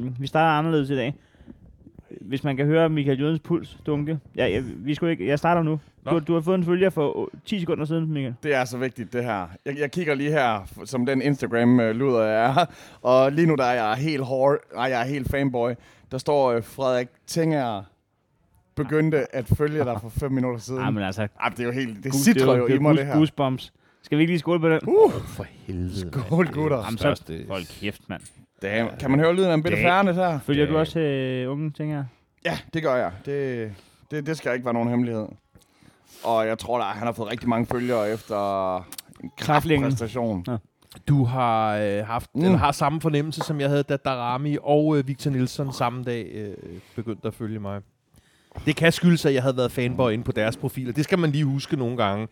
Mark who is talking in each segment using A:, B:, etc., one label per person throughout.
A: Vi starter anderledes i dag. Hvis man kan høre Michael Jødens puls dunke. Ja, jeg, vi skulle ikke, jeg starter nu.
B: Nå.
A: Du, du, har fået en følger for øh, 10 sekunder siden, Michael.
B: Det er så vigtigt, det her. Jeg, jeg kigger lige her, f- som den Instagram-luder jeg er. Og lige nu, der er jeg helt hård. Nej, jeg er helt fanboy. Der står øh, Frederik Tinger begyndte at følge dig for fem minutter siden.
A: Nej, men altså,
B: Ej, det er jo helt... Det
A: gud,
B: sidder jo i mig,
A: goose-
B: det her.
A: Goosebumps. Skal vi ikke lige skåle på den?
C: For helvede.
B: Skål, gutter.
A: Jamen, så-
C: største-
A: Hold kæft, mand.
B: Damn. Kan man høre lyden af en bitte
A: Det-
B: færne der?
A: Følger du
C: Det-
A: også øh, unge ting her?
B: Ja, det gør jeg. Det, det, det skal ikke være nogen hemmelighed. Og jeg tror da, han har fået rigtig mange følgere efter en
A: Træflingen.
B: kraftpræstation.
C: Du har øh, haft
B: Mm.
C: mm. eller har samme fornemmelse, som jeg havde, da Darami og øh, Victor Nielsen samme dag øh, begyndte at følge mig. Det kan skyldes, at jeg havde været fanboy inde på deres profiler. Det skal man lige huske nogle gange.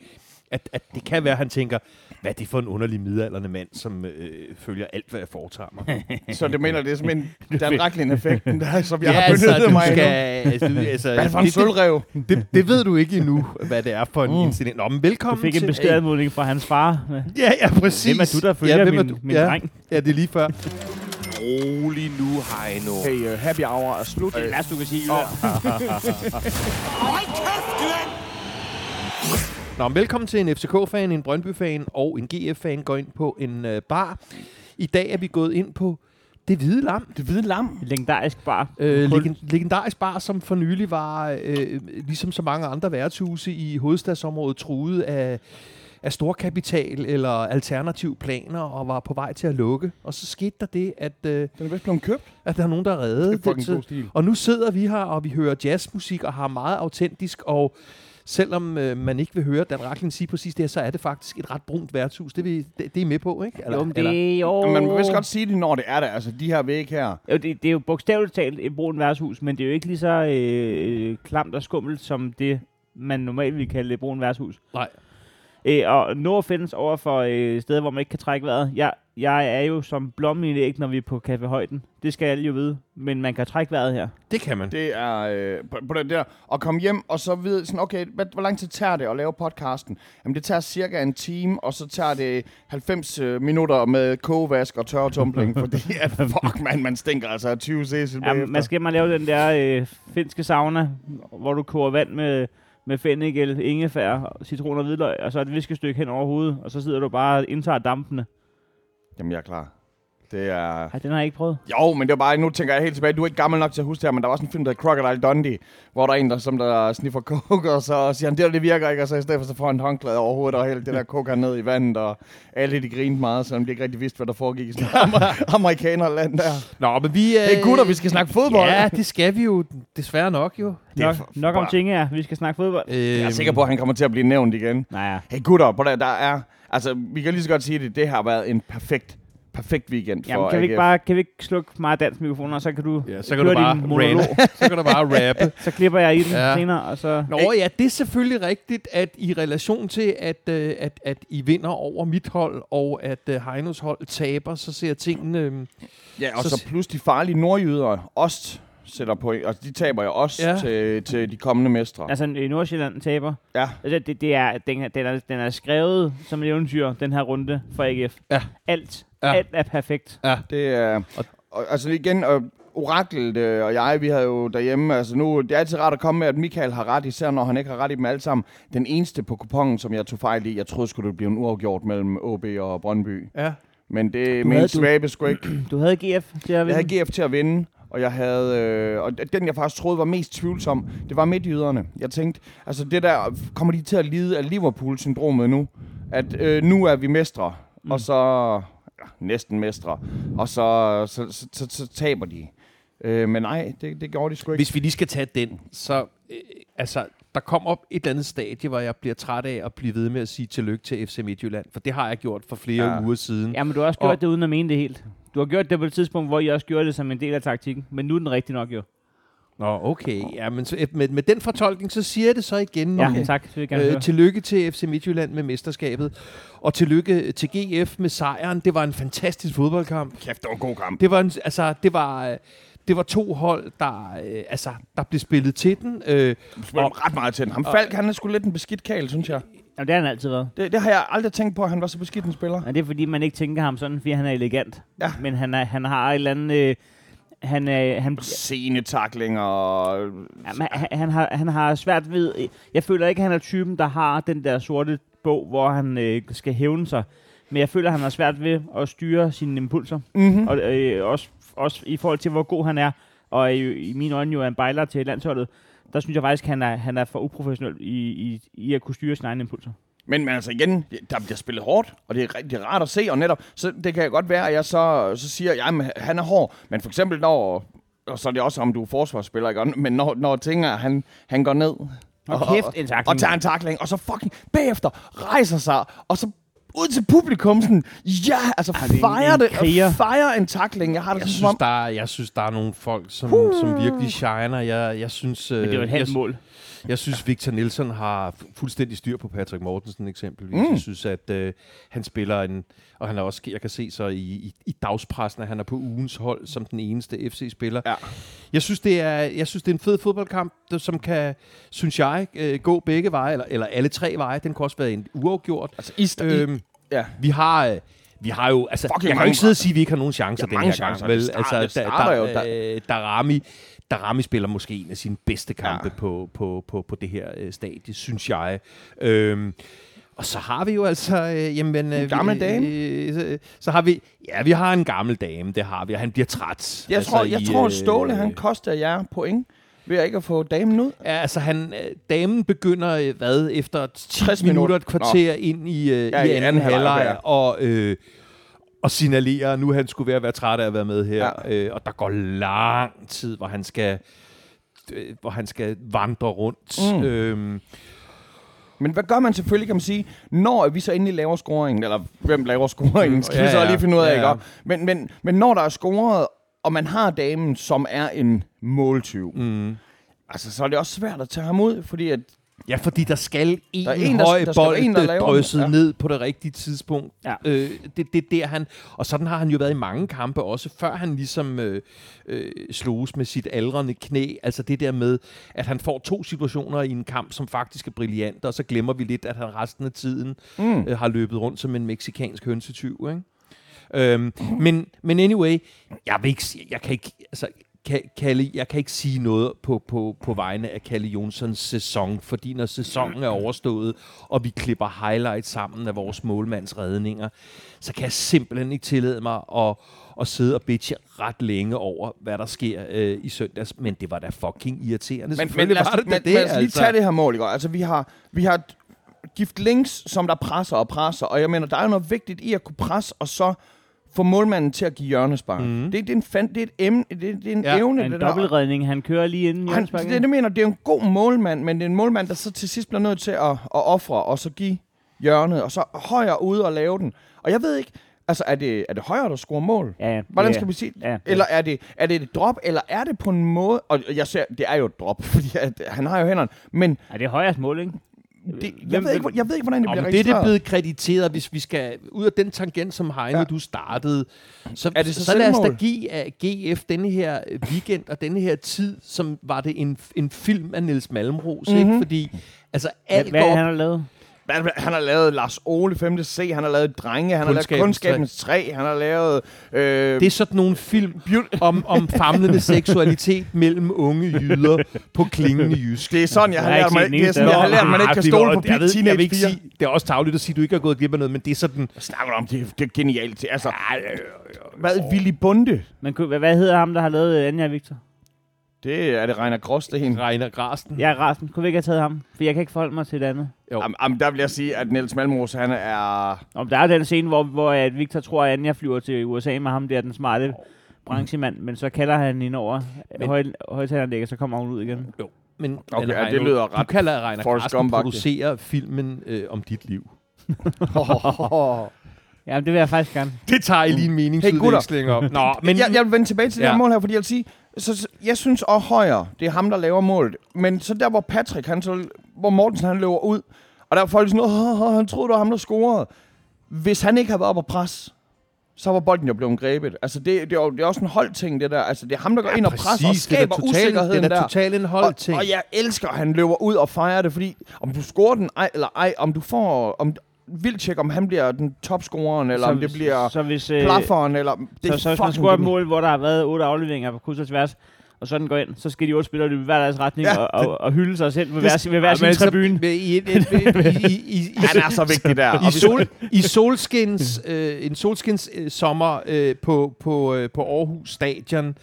C: At, at det kan være, at han tænker, hvad er det for en underlig midalderne mand, som øh, følger alt, hvad jeg foretager mig.
B: Så det mener, det er simpelthen Dan Racklin-effekten, der, som jeg har
C: altså,
B: benyttet
C: du
B: mig af nu.
C: skal, altså, du- altså,
B: Hvad for en
C: det- det-
B: sølvrev?
C: det, det ved du ikke endnu, hvad det er for en
B: Mm.
C: mm. incident. Nå, men
A: Du
C: velkommen
A: fik en
C: til...
A: beskedanmodning fra hans far. Med.
C: Ja, ja, præcis.
A: Hvem er du, der følger
C: hvem er
A: min,
C: du?
A: min
C: ja,
A: dreng?
C: Ja, det er lige før.
D: Rolig nu, Heino.
B: Hey, uh, happy hour er slut.
A: Det er det værste, du kan sige, Jylland.
C: Nå, men velkommen til en FCK-fan, en Brøndby-fan og en GF-fan går ind på en øh, bar. I dag er vi gået ind på Det Hvide Lam,
B: Det hvide lam.
A: Legendarisk bar.
C: øh,
A: Kul.
C: legend- legendarisk bar, som for nylig var, øh, ligesom så mange andre værtshuse i hovedstadsområdet, truet af, af storkapital eller alternative planer og var på vej til at lukke. Og så skete der det, at, øh,
B: Den er vist blevet købt.
C: at der er nogen, der reddede
B: Det er fucking
C: så-
B: god stil.
C: Og nu sidder vi her, og vi hører jazzmusik, og har meget autentisk, og selvom øh, man ikke vil høre Dan Racklin sige præcis det her, så er det faktisk et ret brunt værtshus. Det, vi, det, det er I med på, ikke?
A: Jo, men
C: eller-
A: det er jo...
B: Men man kan vist godt sige det, når det er der. Altså, de her væg her.
A: Jo, det, det er jo bogstaveligt talt et brun værtshus, men det er jo ikke lige så øh, øh, klamt og skummelt som det, man normalt ville kalde et brun værtshus.
C: Nej.
A: Øh, og no offense over for øh, steder, hvor man ikke kan trække vejret. Jeg, jeg er jo som blommen i et æg, når vi er på kaffehøjden. Det skal alle jo vide. Men man kan trække vejret her.
C: Det kan man.
B: Det er øh, på, på den der. Og komme hjem, og så vide sådan, okay, hvad, hvor lang tid tager det at lave podcasten? Jamen, det tager cirka en time, og så tager det 90 øh, minutter med kogevask og tørretumbling, fordi at, fuck, man, man stinker altså af 20 cc
A: Ja, man skal man lave den der øh, finske sauna, hvor du koger vand med, med fennikel, ingefær, citron og hvidløg, og så et viskestykke hen over hovedet, og så sidder du bare og indtager dampene.
B: Jamen, jeg er klar. Det er...
A: Ej, den har jeg ikke prøvet.
B: Jo, men det var bare, nu tænker jeg helt tilbage, du er ikke gammel nok til at huske det her, men der var også en film, der hed Crocodile Dundee, hvor der er en, der, som der sniffer coke, og så siger han, det der, det virker ikke, og så i stedet for, så får han et håndklæde over hovedet, og helt det der coke her ned i vandet, og alle de grinede meget, selvom de ikke rigtig vidste, hvad der foregik i sådan et amer- amerikanerland der.
C: Nå, men vi... Øh,
B: Hey gutter, vi skal snakke fodbold.
C: Ja, det skal vi jo desværre nok jo.
B: Det er
A: Nok,
B: for-
A: nok om
B: bare-
A: ting her. Vi skal snakke fodbold.
C: Øhm,
B: Jeg er sikker på, at han kommer til at blive nævnt igen.
A: Nej,
B: Hey gutter, på der, der er, altså, vi kan lige så godt sige det, det har været en perfekt, perfekt weekend for
A: Jamen, kan vi ikke
B: AGF.
A: bare kan vi ikke slukke mig og dansk mikrofoner, og så kan du
C: Ja, så kan
A: køre
C: du bare
A: din monolog.
C: rappe. så kan du bare rappe.
A: så klipper jeg i den ja.
C: Ja.
A: senere, og så...
C: Nå ja, det er selvfølgelig rigtigt, at i relation til, at, øh, at, at I vinder over mit hold, og at øh, Heinos hold taber, så ser tingene... Øh,
B: Ja, og
C: Så
B: så,
C: s-
B: plus de farlige nordjyder også sætter på, altså de taber jo også ja.
C: Ja.
B: til, til de kommende mestre.
A: Altså, i Nordsjælland taber.
B: Ja.
A: Altså, det, det er, den, er- den, er, den er skrevet som et eventyr, den her runde for AGF.
C: Ja.
A: Alt. Ja.
C: Ja.
A: Alt er perfekt.
B: Det er... Og, og, altså igen, og Oraklet øh, og jeg, vi havde jo derhjemme, altså nu, det er altid rart at komme med, at Michael har ret, især når han ikke har ret i dem alle sammen. Den eneste på kupongen, som jeg tog fejl i, jeg troede skulle det blive en uafgjort mellem OB og Brøndby.
C: ja.
B: Men det
A: Du
B: mente
A: havde- du-
B: Svabe sgu ikke.
A: Du havde GF til at
B: Jeg
A: vinde.
B: havde GF til at vinde, og jeg havde øh, og den jeg faktisk troede var mest tvivlsom, det var midtjyderne. Jeg tænkte, altså det der kommer de til at lide af Liverpool syndromet nu, at øh, nu er vi mestre, mm. og så ja, næsten mestre, og så så, så, så, så taber de. Øh, men nej, det, det gjorde de sgu ikke.
C: Hvis vi lige skal tage den, så øh, altså, der kommer et eller andet stadie, hvor jeg bliver træt af at blive ved med at sige tillykke til FC Midtjylland, for det har jeg gjort for flere
B: Ja.
C: ja. uger siden. Ja.
A: Ja, men du har også gjort
C: Og-
A: det uden at mene det helt. Du har gjort det på et tidspunkt, hvor I også gjorde det som en del af taktikken. Men nu er den rigtig nok jo.
C: Nå, okay. Ja, men så, øh, med, med den fortolkning, så siger jeg det så igen.
A: Ja, tak. Det vil jeg gerne høre.
C: Øh, tillykke til FC Midtjylland med mesterskabet, og tillykke til GF med sejren. Det var en fantastisk fodboldkamp.
B: Kæft, det var en god kamp.
C: Det var, en, altså, det var, øh, det var to hold, der, øh, altså, der blev spillet til den. Øh,
B: Det var ret meget til den. Ham Falk, han er sgu lidt en beskidt kæl, synes jeg.
A: Jamen, det har han altid været.
B: Det, det har jeg aldrig tænkt på, at han var så beskidt en spiller.
A: Og det er fordi, man ikke tænker ham sådan, fordi han er elegant.
B: Ja.
A: Men han, er, han har et eller andet... Øh, han, øh, han,
B: Scenetaklinger og...
A: Jamen, han, han, har, han har svært ved... Jeg føler ikke, at han er typen, der har den der sorte bog, hvor han øh, skal hævne sig. Men jeg føler, at han har svært ved at styre sine impulser.
B: Mm-hmm.
A: Og øh, også, også i forhold til, hvor god han er. Og øh, i mine øjne jo er en bejler til landsholdet. Der synes jeg faktisk, at han er, han er for uprofessionel i, i, i at kunne styre sine egne impulser.
B: Men, men altså igen, der bliver spillet hårdt, og det er rigtig rart at se, og netop, så det kan godt være, at jeg så, så siger, at han er hård, men for eksempel når, og så er det også, om du er forsvarsspiller, ikke? Og- men når, når tænker, han, han går ned,
A: Og kæft, en takling.
B: og tager en takling, og så fucking bagefter rejser sig, og så ud til publikum, sådan, ja, altså
A: det er en-
B: fejre
A: en
B: det,
A: kriger.
B: fejre en takling, jeg har det
C: Jeg
B: sådan, som
C: synes,
B: om,
C: der er, jeg synes, der er nogle folk, som, som virkelig shiner. Jeg, jeg synes, øh,
A: Men det er jo et halvt
C: jeg,
A: mål.
C: jeg synes, Victor Nielsen har fu- fuldstændig styr på Patrick Mortensen eksempelvis.
B: Mm.
C: Mm. Jeg synes, at øh, han spiller en... Og han er også, jeg kan se så i, i, i dagspressen, at han er på ugens hold som den eneste FC-spiller.
B: Ja.
C: Jeg synes, det er, jeg synes, det er en fed fodboldkamp, der, som kan, synes jeg, øh, gå begge veje, eller, eller alle tre veje. Den kan også være en uafgjort.
B: altså, i, st- i,
C: Øhm,
B: ja.
C: vi har... Øh, vi har jo, altså,
B: Fucking
C: jeg kan jo
B: mange
C: ikke sidde og sige, at vi ikke har nogen
B: Ja,
C: chancer den
B: mange
C: her
B: chancer.
C: gang. Vel?
B: Det starter- det
C: altså,
B: starter jo,
C: der, øh, Darami, Darami spiller måske en af sine bedste kampe ja. på, på, på, på det her øh, stadie, synes jeg. Øhm, og så har vi jo altså... Øh, jamen, øh,
B: gammel
C: vi,
B: dame?
C: Øh, så, så har vi... Ja, vi har en gammel dame, det har vi, og han bliver træt.
B: jeg
C: altså,
B: tror, jeg
C: i,
B: tror,
C: øh,
B: Ståle, han koster jer point, ved at ikke at få damen ud.
C: Ja, altså han, øh, damen begynder øh, hvad efter 10
B: 60
C: 60
B: minutter.
C: minutter, et kvarter Nå. ind i, øh, ja, i anden halvleg og øh, og signalerer at nu han skulle være, være træt af at være med her,
B: Ja.
C: ja. øh, og der går lang tid, hvor han skal øh, hvor han skal vandre rundt.
B: Mm.
C: Mm. Øhm,
B: Men hvad gør man selvfølgelig, kan man sige, når vi så endelig laver scoringen, eller hvem laver scoringen, skal ja, vi
C: Ja,
B: så
C: ja.
B: lige finde ud af,
C: Ja,
B: ikke?
C: ja.
B: Og- Men, men, men når der er scoret, og man har damen, som er en måltyv, mm. altså så er det også svært at tage ham ud, fordi at,
C: ja, fordi der skal en,
B: Der
C: der
B: er en, der-
C: høj
B: der skal
C: bold
B: en, der laver den.
C: drysset
B: Ja.
C: ja. ned på det rigtige tidspunkt.
A: Ja.
C: Øh, det, det er der han, og sådan har han jo været i mange kampe også, før han ligesom øh, øh, sloges med sit aldrende knæ. Altså det der med, at han får to situationer i en kamp, som faktisk er brillante, og så glemmer vi lidt, at han resten af tiden
B: Mm.
C: mm. øh, har løbet rundt som en meksikansk hønsetyv, ikke? Øhm, men, men anyway, jeg, vil ikke, sige- jeg kan ikke... Altså, Ka- Kalle, jeg kan ikke sige noget på, på, på vegne af Kalle Jonsons sæson, fordi når sæsonen er overstået, og vi klipper highlights sammen af vores målmands redninger, så kan jeg simpelthen ikke tillade mig at, at sidde og bitche ret længe over, hvad der sker øh, i søndags. Men det var da fucking irriterende.
B: men, men
C: Selvfølgelig
B: lad os,
C: var det da
B: men,
C: det,
B: lad os lige
C: altså.
B: tage det her mål, ikke? Altså vi har, vi har gift links, som der presser og presser, og jeg mener, der er jo noget vigtigt i at kunne presse, og så få målmanden til at give hjørnespark. Mm. Det, det, er en fan, det er et emne, det, det er en
C: Ja,
B: evne,
A: En
B: det der.
A: dobbeltredning. Han kører lige inden
B: Han,
A: hjørnesparket.
B: det, det, det mener, det er en god målmand, men det er en målmand, der så til sidst bliver nødt til at, at ofre, og så give hjørnet, og så højre ude og lave den. Og jeg ved ikke, altså er det, er det højre, der scorer mål?
A: Ja, ja.
B: Hvordan
A: Ja,
B: skal vi sige
A: ja, ja.
B: Eller er det, er det et drop, eller er det på en måde... Og jeg ser, det er jo et drop, fordi at, han har jo hænderne, men
A: Ja, det er højres mål, ikke?
B: det, jeg,
A: Hvem-
B: ved ikke, hvor- jeg ved ikke, hvordan det
C: Om
B: bliver
C: det er det
B: registreret.
C: blevet krediteret, hvis vi skal ud af den tangent, som Heine, ja. du startede, så,
B: Er det så
C: så lad os da
B: selvmål?
C: give af GF denne her øh, weekend og denne her tid, som var det en, en film af Niels Malmros, mm-hmm. ikke? Fordi altså, alt
A: Hvad er
C: går
A: det, han har lavet?
B: Hvad- Han har lavet Lars Ole 5. C, han har lavet Drenge, han har lavet
C: Kundskabens
B: Kundskabens 3, han har lavet... Øh,
C: Det er sådan nogle film om, om famlende seksualitet mellem unge jyder på klingende jysk.
B: det er sådan, jeg har,
A: Jeg har
B: lært
A: ikke
B: mig,
A: set den eneste
B: det er sådan, jeg
A: af
B: har
A: dem.
B: lært, at man ikke kan
C: Ah, det var-
B: stole på
C: jeg
B: Pig
C: ved- jeg vil
B: Teenage
C: ikke
B: 4.
C: sige, Det er også tageligt at sige, at du ikke har gået glip af noget, men det er sådan...
B: snakker om, det, er- det er genialt. Det er Altså, hvad, Willy Bunde?
A: Men kunne- hvad- hvad hedder ham, der har lavet øh, Anja Victor?
B: Det er det Reiner Gross, det er hende.
C: Regner Grasten.
A: Ja, Rasmus, kunne vi ikke have taget ham? For jeg kan ikke forholde mig til det andet.
B: Am, am, der vil jeg sige, at Niels Malmros, han er...
A: Om der er jo den scene, hvor, hvor at Victor tror, at Anja flyver til USA med ham der, den smarte branchemand, men så kalder han hende over
C: Men-
A: høj, højtalerandæg, og så kommer hun ud igen.
C: Jo, men
B: Okay,
C: men
B: ja, det lyder
C: Du
B: ret
C: kalder Reiner
B: Forrest
C: Carsten
B: Gump-agtigt.
C: producerer filmen øh, om dit liv.
A: Jamen, det vil jeg faktisk gerne.
C: Det tager I lige en meningsudveksling om. Nå, men...
B: Men, jeg, jeg vil vende tilbage til ja. det
C: Ja.
B: her mål her, fordi jeg vil sige, så, så- jeg synes også højere, det er ham, der laver målet. Men så der, hvor Patrick, han så, hvor Mortensen han løber ud, og der er folk sådan, "Åh, åh, han troede, det var ham, der scorede. Hvis han ikke havde været op og pres, så var bolden jo blevet grebet. Altså, det, det, er, jo, det er også en holdting, det der. Altså, det er ham, der går ja, ind og presser og
C: det er da
B: skaber
C: totalt-
B: usikkerheden
C: Det er da
B: der.
C: totalt en holdting.
B: Og, og jeg elsker, at han løber ud og fejrer det, fordi om du scorer den ej, eller ej, om du får... Om, vildt tjekke, om han bliver den topscoreren, eller
A: så,
B: om det bliver
A: så hvis, øh,
B: plafferen, eller... Det
A: så, så
B: er
A: hvis man
B: fucking
A: scorer et
B: genialt.
A: mål, hvor der har været otte afleveringer på kryds og tværs, og sådan går ind, så skal de otte spillere løbe i hver deres retning
B: Ja,
A: ja, og, og, og, hylde sig selv ved
C: Det-
A: hver, sin- ved hver sin
C: altså,
A: tribune.
C: I, i, i, i, i,
B: Han er så vigtig der.
C: I, sol, i solskins, øh, en solskins øh, sommer øh, på, på, øh, på Aarhus Stadion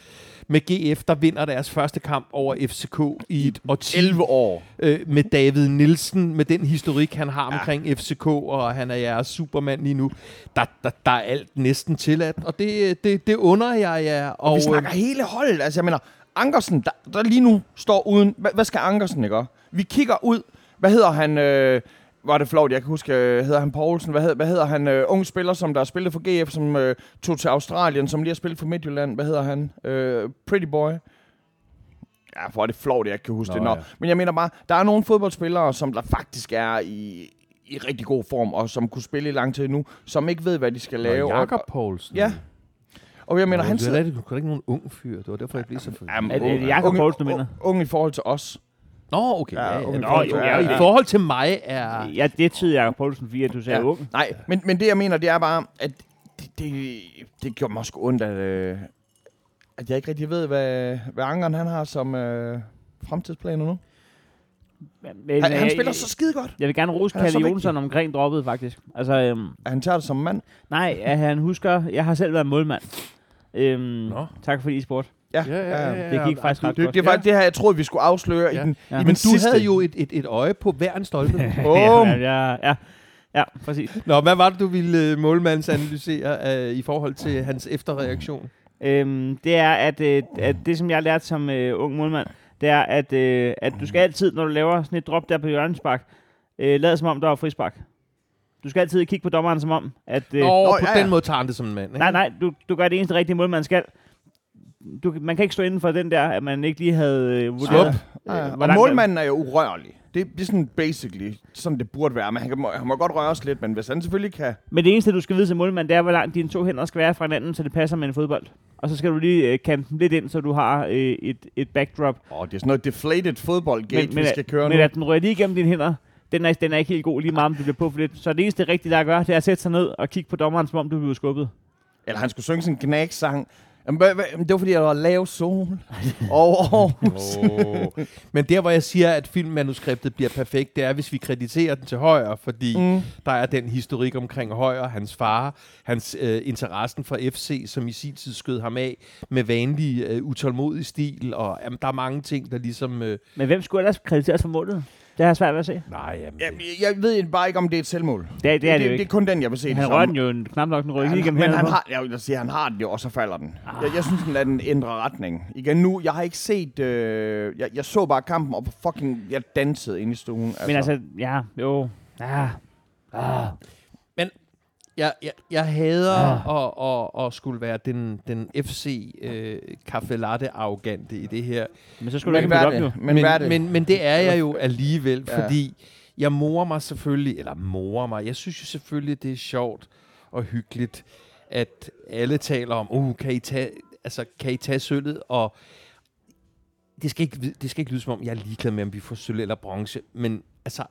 C: med GF, der vinder deres første kamp over FCK i et årti
B: 11 år.
C: øh, med David Nielsen, med den historik, han har omkring FCK, og han er jeres supermand lige nu. Der, der, der er alt næsten tilladt, og det, det, det under jeg jer. Og,
B: Vi
C: øh,
B: snakker hele holdet. Altså, jeg mener, Ankersen, der, der lige nu står uden... Hvad, hvad skal Ankersen, ikke? også? Vi kigger ud. Hvad hedder han... Øh, var det flot, jeg kan huske, øh, hedder han Poulsen? Hvad hedder, hvad hedder han? Øh, unge spiller, som der har spillet for GF, som øh, tog til Australien, som lige har spillet for Midtjylland. Hvad hedder han? Øh, Pretty Boy. Ja, for det flot, jeg ikke kan huske
C: Nå,
B: det. Nå.
C: ja.
B: Ja. Men jeg mener bare, der er nogle fodboldspillere, som der faktisk er i, i rigtig god form, og som kunne spille i lang tid nu, som ikke ved, hvad de skal lave.
C: og Jakob
B: Og,
C: Poulsen.
B: ja. Og jeg mener,
C: Nå,
B: han
C: det er
B: sidder...
C: heller ikke- det var ikke nogen ung fyr. Det var derfor, jeg blev så fed.
B: Jamen,
A: Er det- er det
B: unge-
A: Jakob
B: unge-
A: Poulsen, du mener?
B: Unge i forhold til os.
C: Nå, okay. Ja, ja,
B: unge
C: Nå,
B: folk,
C: jo,
B: ja,
C: ja,
B: ja.
C: I forhold til mig er...
A: Ja, det tyder Jakob Poulsen, fordi at du sagde
B: Ja.
A: ja. ung.
B: Nej, men, men det jeg mener, det er bare, at det, det, det gjorde mig sgu ondt, at, øh, at jeg ikke rigtig ved, hvad, hvad Ankeren han har som øh, fremtidsplaner nu.
A: Men,
B: Han, han
A: jeg-
B: spiller så skide godt,
A: Jeg vil gerne rose
B: Han er så
A: Kalle
B: vigtig.
A: Jonsson omkring droppet, faktisk. Altså, øhm,
B: at han tager det som mand.
A: nej, at han husker... Jeg har selv været målmand. Øhm,
C: Nå.
A: tak fordi I spurgte.
B: Ja,
C: Ja, ja, ja, ja.
A: Det gik
C: ja,
A: faktisk
C: det-
A: ret
B: Det,
A: godt.
B: det, var
C: Ja.
B: det her, jeg troede, vi skulle afsløre
C: Ja.
B: i den,
A: Ja.
B: i den
C: Men du
B: sidste.
C: havde jo et, et, et øje på hver en stolpe.
B: Bum!
A: Ja, ja, ja, ja, præcis.
C: Nå, hvad var det, du ville øh, målmandsanalysere øh, i forhold til hans efterreaktion?
A: Øhm, det er, at, øh, at det, som jeg har lært som øh, ung målmand, det er, at, øh, at du skal altid, når du laver sådan et drop der på hjørnespark, øh, lad som om, der er frispark. Du skal altid kigge på dommeren som om, at... Øh,
C: Nå, Nå på
B: ja, ja.
C: den måde tager han det som en mand, ikke?
A: Nej, nej, du, du gør det eneste rigtige mål, man skal. Du, man kan ikke stå inden for den der, at man ikke lige havde øh, vurderet.
B: Ja, ja.
A: hvor
B: Og
A: langt-
B: målmanden er jo urørlig. Det, det er sådan basically, sådan det burde være. Men han, kan, må, han må godt røres lidt, men hvis han selvfølgelig kan...
A: Men det eneste, du skal vide som målmand, det er, hvor langt dine to hænder skal være fra hinanden, så det passer med en fodbold. Og så skal du lige øh, kante den lidt ind, så du har øh, et, et backdrop.
B: Åh, oh, det er sådan noget deflated fodboldgate,
A: men,
B: vi
A: at-
B: skal køre
A: men
B: nu.
A: at den rører lige igennem dine hænder, den er, den er ikke helt god, lige meget om du bliver puffet lidt. Så det eneste rigtige, der er at gøre, det er at sætte sig ned og kigge på dommeren, som om du bliver skubbet.
B: Eller han skulle synge sådan en gnagsang. Jamen, hvad, hvad, jamen, det var fordi, der var lav sol over Aarhus.
C: Oh. Men der, hvor jeg siger, at filmmanuskriptet bliver perfekt, det er, hvis vi krediterer den til højre, fordi mm. der er den historik omkring højre, hans far, hans øh, interessen for FC, som i sin tid skød ham af med vanlig øh, utålmodig stil, og jamen, der er mange ting, der ligesom... Øh,
A: Men hvem skulle ellers krediteres for målet? Det har jeg svært ved at se.
C: nej, jamen,
B: Jamen, jeg- jeg ved bare ikke, om det er et selvmål. Det,
A: Det, er- det er det, jo
B: det,
A: ikke.
B: er kun den, jeg vil se. det
A: han
B: som.
A: rører den jo en- knap nok, den rører lige
B: Han,
A: igennem Ah.
B: men
A: hænderne
B: han
A: på.
B: har, jeg vil da sige, han har den jo, og så falder den. Jeg, jeg synes, den er den ændrer retning. Igen nu, jeg har ikke set... Øh, jeg, jeg så bare kampen, og fucking... Jeg dansede inde i stuen. Altså.
A: Men altså, ja, jo. Ja. Ah.
C: Jeg, jeg, jeg hader
A: Ah.
C: at, at, at skulle være den, den FC øh, kaffe latte arrogante i det her.
A: Men så skulle du
B: men
A: ikke
B: hvad er
A: møde op,
B: det?
A: jo.
B: Men, hvad er det?
C: Men, men det er jeg jo alligevel,
B: Ja.
C: ja. fordi jeg morer mig selvfølgelig, eller morer mig, jeg synes jo selvfølgelig, det er sjovt og hyggeligt, at alle taler om, uh, kan I tage, altså, kan I tage sølvet, og det skal, ikke, vid- det skal ikke lyde som om, jeg er ligeglad med, om vi får sølv eller bronze, men altså,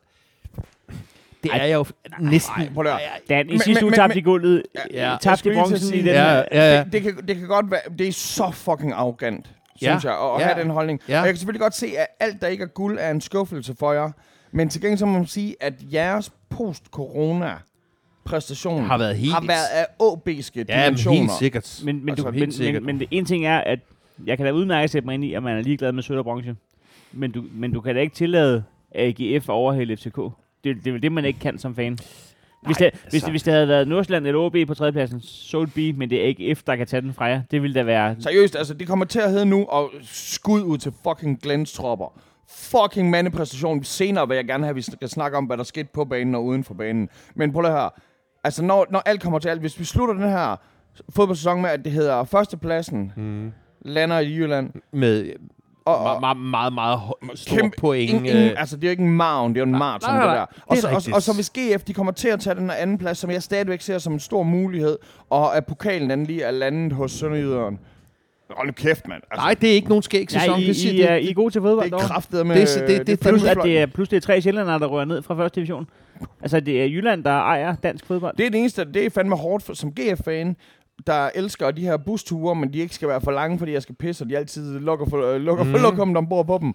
C: det er jeg jo f- næsten...
B: prøv lige at-
C: Ej,
A: Dan, i
B: Men-
A: sidste
B: men-
A: uge
B: men-
A: tabte øh, i gulvet.
C: Ja.
A: Ja.
B: Jeg
A: Tabte i
B: skulle lige til at
A: bronzen i
B: sige-
A: den
C: Ja,
A: her.
C: ja, ja.
B: Det, det, kan, det kan godt være, det er så fucking arrogant,
C: Ja.
B: synes jeg, at, at
C: Ja.
B: have den holdning.
C: Ja.
B: Og jeg kan selvfølgelig godt se, at alt, der ikke er guld, er en skuffelse for jer. Men til gengæld så må man sige, at jeres post-corona præstation
C: Har været helt-
B: har været af åbiske
C: Ja, men
B: dimensioner.
C: helt sikkert.
A: Men, men,
C: Altså,
A: du,
C: helt
A: men,
C: sikkert.
A: men, men det en ting er, at jeg kan da udmærket sætte mig ind i, at man er ligeglad med sølv og bronze. Men du, men du kan da ikke tillade AGF at overhale FCK. Det, det er vel det, man ikke kan som fan. Hvis, det, hvis,
C: altså.
A: det, hvis det havde været Nordsjælland eller OB på tredjepladsen, so it be, men det er AGF, der kan tage den fra jer. Det ville da være...
B: Seriøst, altså, det kommer til at hedde nu, og skud ud til fucking Glens tropper. Fucking mandepræstation. Senere vil jeg gerne have, at vi skal snakke om, hvad der skete på banen og uden for banen. Men prøv lige her. Altså, når, når alt kommer til alt, hvis vi slutter den her fodboldsæson med, at det hedder førstepladsen, mm. lander i Jylland,
C: med
B: og,
C: meget,
B: og
C: meget, meget, meget hø- stor
B: kæmpe-
C: point. øh.
B: ingen, ingen, altså, det er jo ikke en maven, det er jo en maraton,
C: nej,
B: det
C: nej,
B: der.
C: det er
B: Og så, og,
C: rigtigt.
B: og så hvis GF, de kommer til at tage den her anden plads, som jeg stadigvæk ser som en stor mulighed, og at pokalen den lige er landet hos Sønderjyderen. Hold nu kæft, mand. Altså,
C: Nej, det er ikke nogen skæg sæson.
A: Nej, I,
C: det siger,
A: I, er, I er gode til fodbold.
B: Det er
A: dog.
B: kraftet med...
C: øh, Det er- det- det-
A: Plus, at
B: det,
A: det er, pludselig er tre sjællandere, der rører ned fra første division. Altså, det er Jylland, der ejer dansk fodbold.
B: Det er det eneste, det er fandme hårdt for, som GF-fan, der elsker de her busture, men de ikke skal være for lange, fordi jeg skal pisse, og de altid lukker for, øh, lukker for
C: Mm.
B: lokummet ombord på dem.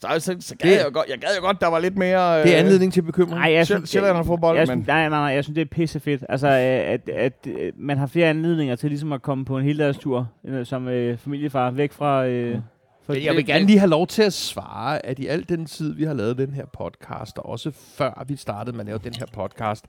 B: Så, så, så gad
C: Det-
B: jeg, jo godt, jeg gad jo godt, der var lidt mere...
C: Det er
B: øh,
C: anledning til bekymring.
A: Nej, jeg
B: Sjæl-
A: synes,
B: Sjælland og fodbold,
A: jeg,
B: men...
A: synes, nej, nej, nej, jeg synes, det er pissefedt. Altså, øh, at, at øh, man har flere anledninger til ligesom at komme på en heldagstur øh, som øh, familiefar væk fra... Øh, fra
C: Men jeg vil
B: det-
C: gerne lige have lov til at svare, at i al den tid, vi har lavet den her podcast, og også før vi startede med at lave den her podcast,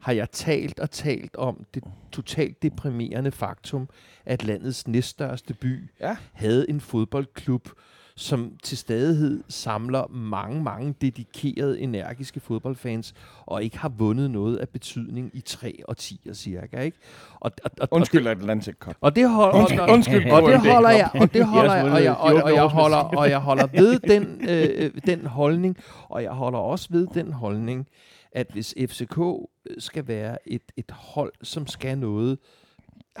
C: har jeg talt og talt om det totalt deprimerende faktum, at landets næststørste by
B: Ja.
C: havde en fodboldklub, som til stadighed samler mange, mange dedikerede, energiske fodboldfans, og ikke har vundet noget af betydning i tre årtier cirka. Ikke? Og, og, og, og
B: Undskyld, Atlantic Cup.
C: og det holder,
B: Undskyld,
C: og,
B: undskyld,
C: og det
B: KMD.
C: holder jeg, og det
A: har
C: holder
A: også
C: jeg, og
A: vundet
C: jeg, og,
A: de
C: og, jeg
A: otte
C: holder, og jeg holder ved den, øh, den holdning, og jeg holder også ved den holdning, at hvis FCK øh, skal være et, et hold, som skal noget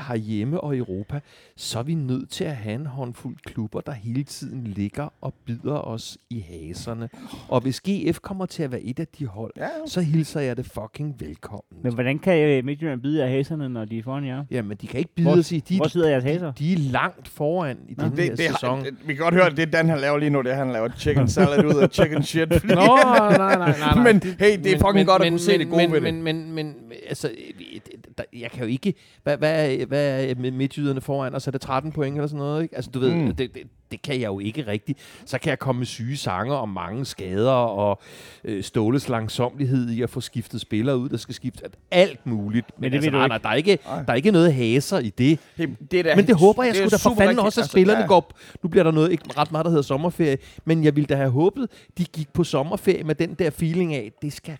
C: herhjemme og i Europa, så er vi nødt til at have en håndfuld klubber, der hele tiden ligger og bider os i haserne. Og hvis GF kommer til at være et af de hold,
B: Ja,
C: så hilser jeg det fucking velkommen.
A: Men hvordan kan øh, Midtjylland bide jer hæserne, når de er foran jer?
C: Jamen, de kan ikke bide
A: Hvor-
C: os i. De,
A: Hvor sidder jeres hæser?
C: de er langt foran i den
B: det,
C: her
B: det,
C: sæson.
B: det, vi kan godt høre, at det Dan, han laver lige nu, det er, han laver chicken salad ud af chicken shit. Fordi,
C: Nå, nej, nej, nej, nej.
B: Men hey, det er fucking godt at kunne se det gode
C: men,
B: ved det.
C: men, Men, men, men, altså, øh, det- der, jeg kan jo ikke... Hvad, hvad, er- hvad er med midtjyderne foran, og så er det 13 point eller sådan noget, ikke? Altså, du ved,
B: Mm.
C: mm. det, det, det kan jeg jo ikke rigtigt. Så kan jeg komme med syge sanger og mange skader og øh, Ståles langsomlighed i at få skiftet spillere ud, der skal skifte alt muligt. Men,
A: det
C: altså,
A: ved du
C: nej,
A: ikke.
C: nej, der er ikke,
B: Nej.
C: der er ikke noget haser i det.
B: det, det er da-
C: Men det håber jeg
B: det er
C: sgu da for
B: super
C: fanden
B: rigtigt.
C: også, at spillerne
B: ja.
C: går... op. Nu bliver der noget, ikke ret meget, der hedder sommerferie, men jeg ville da have håbet, de gik på sommerferie med den der feeling af, det skal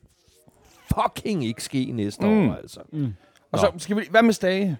C: fucking ikke ske næste
B: Mm.
C: mm. år, altså.
B: Og så skal vi, hvad med Stage?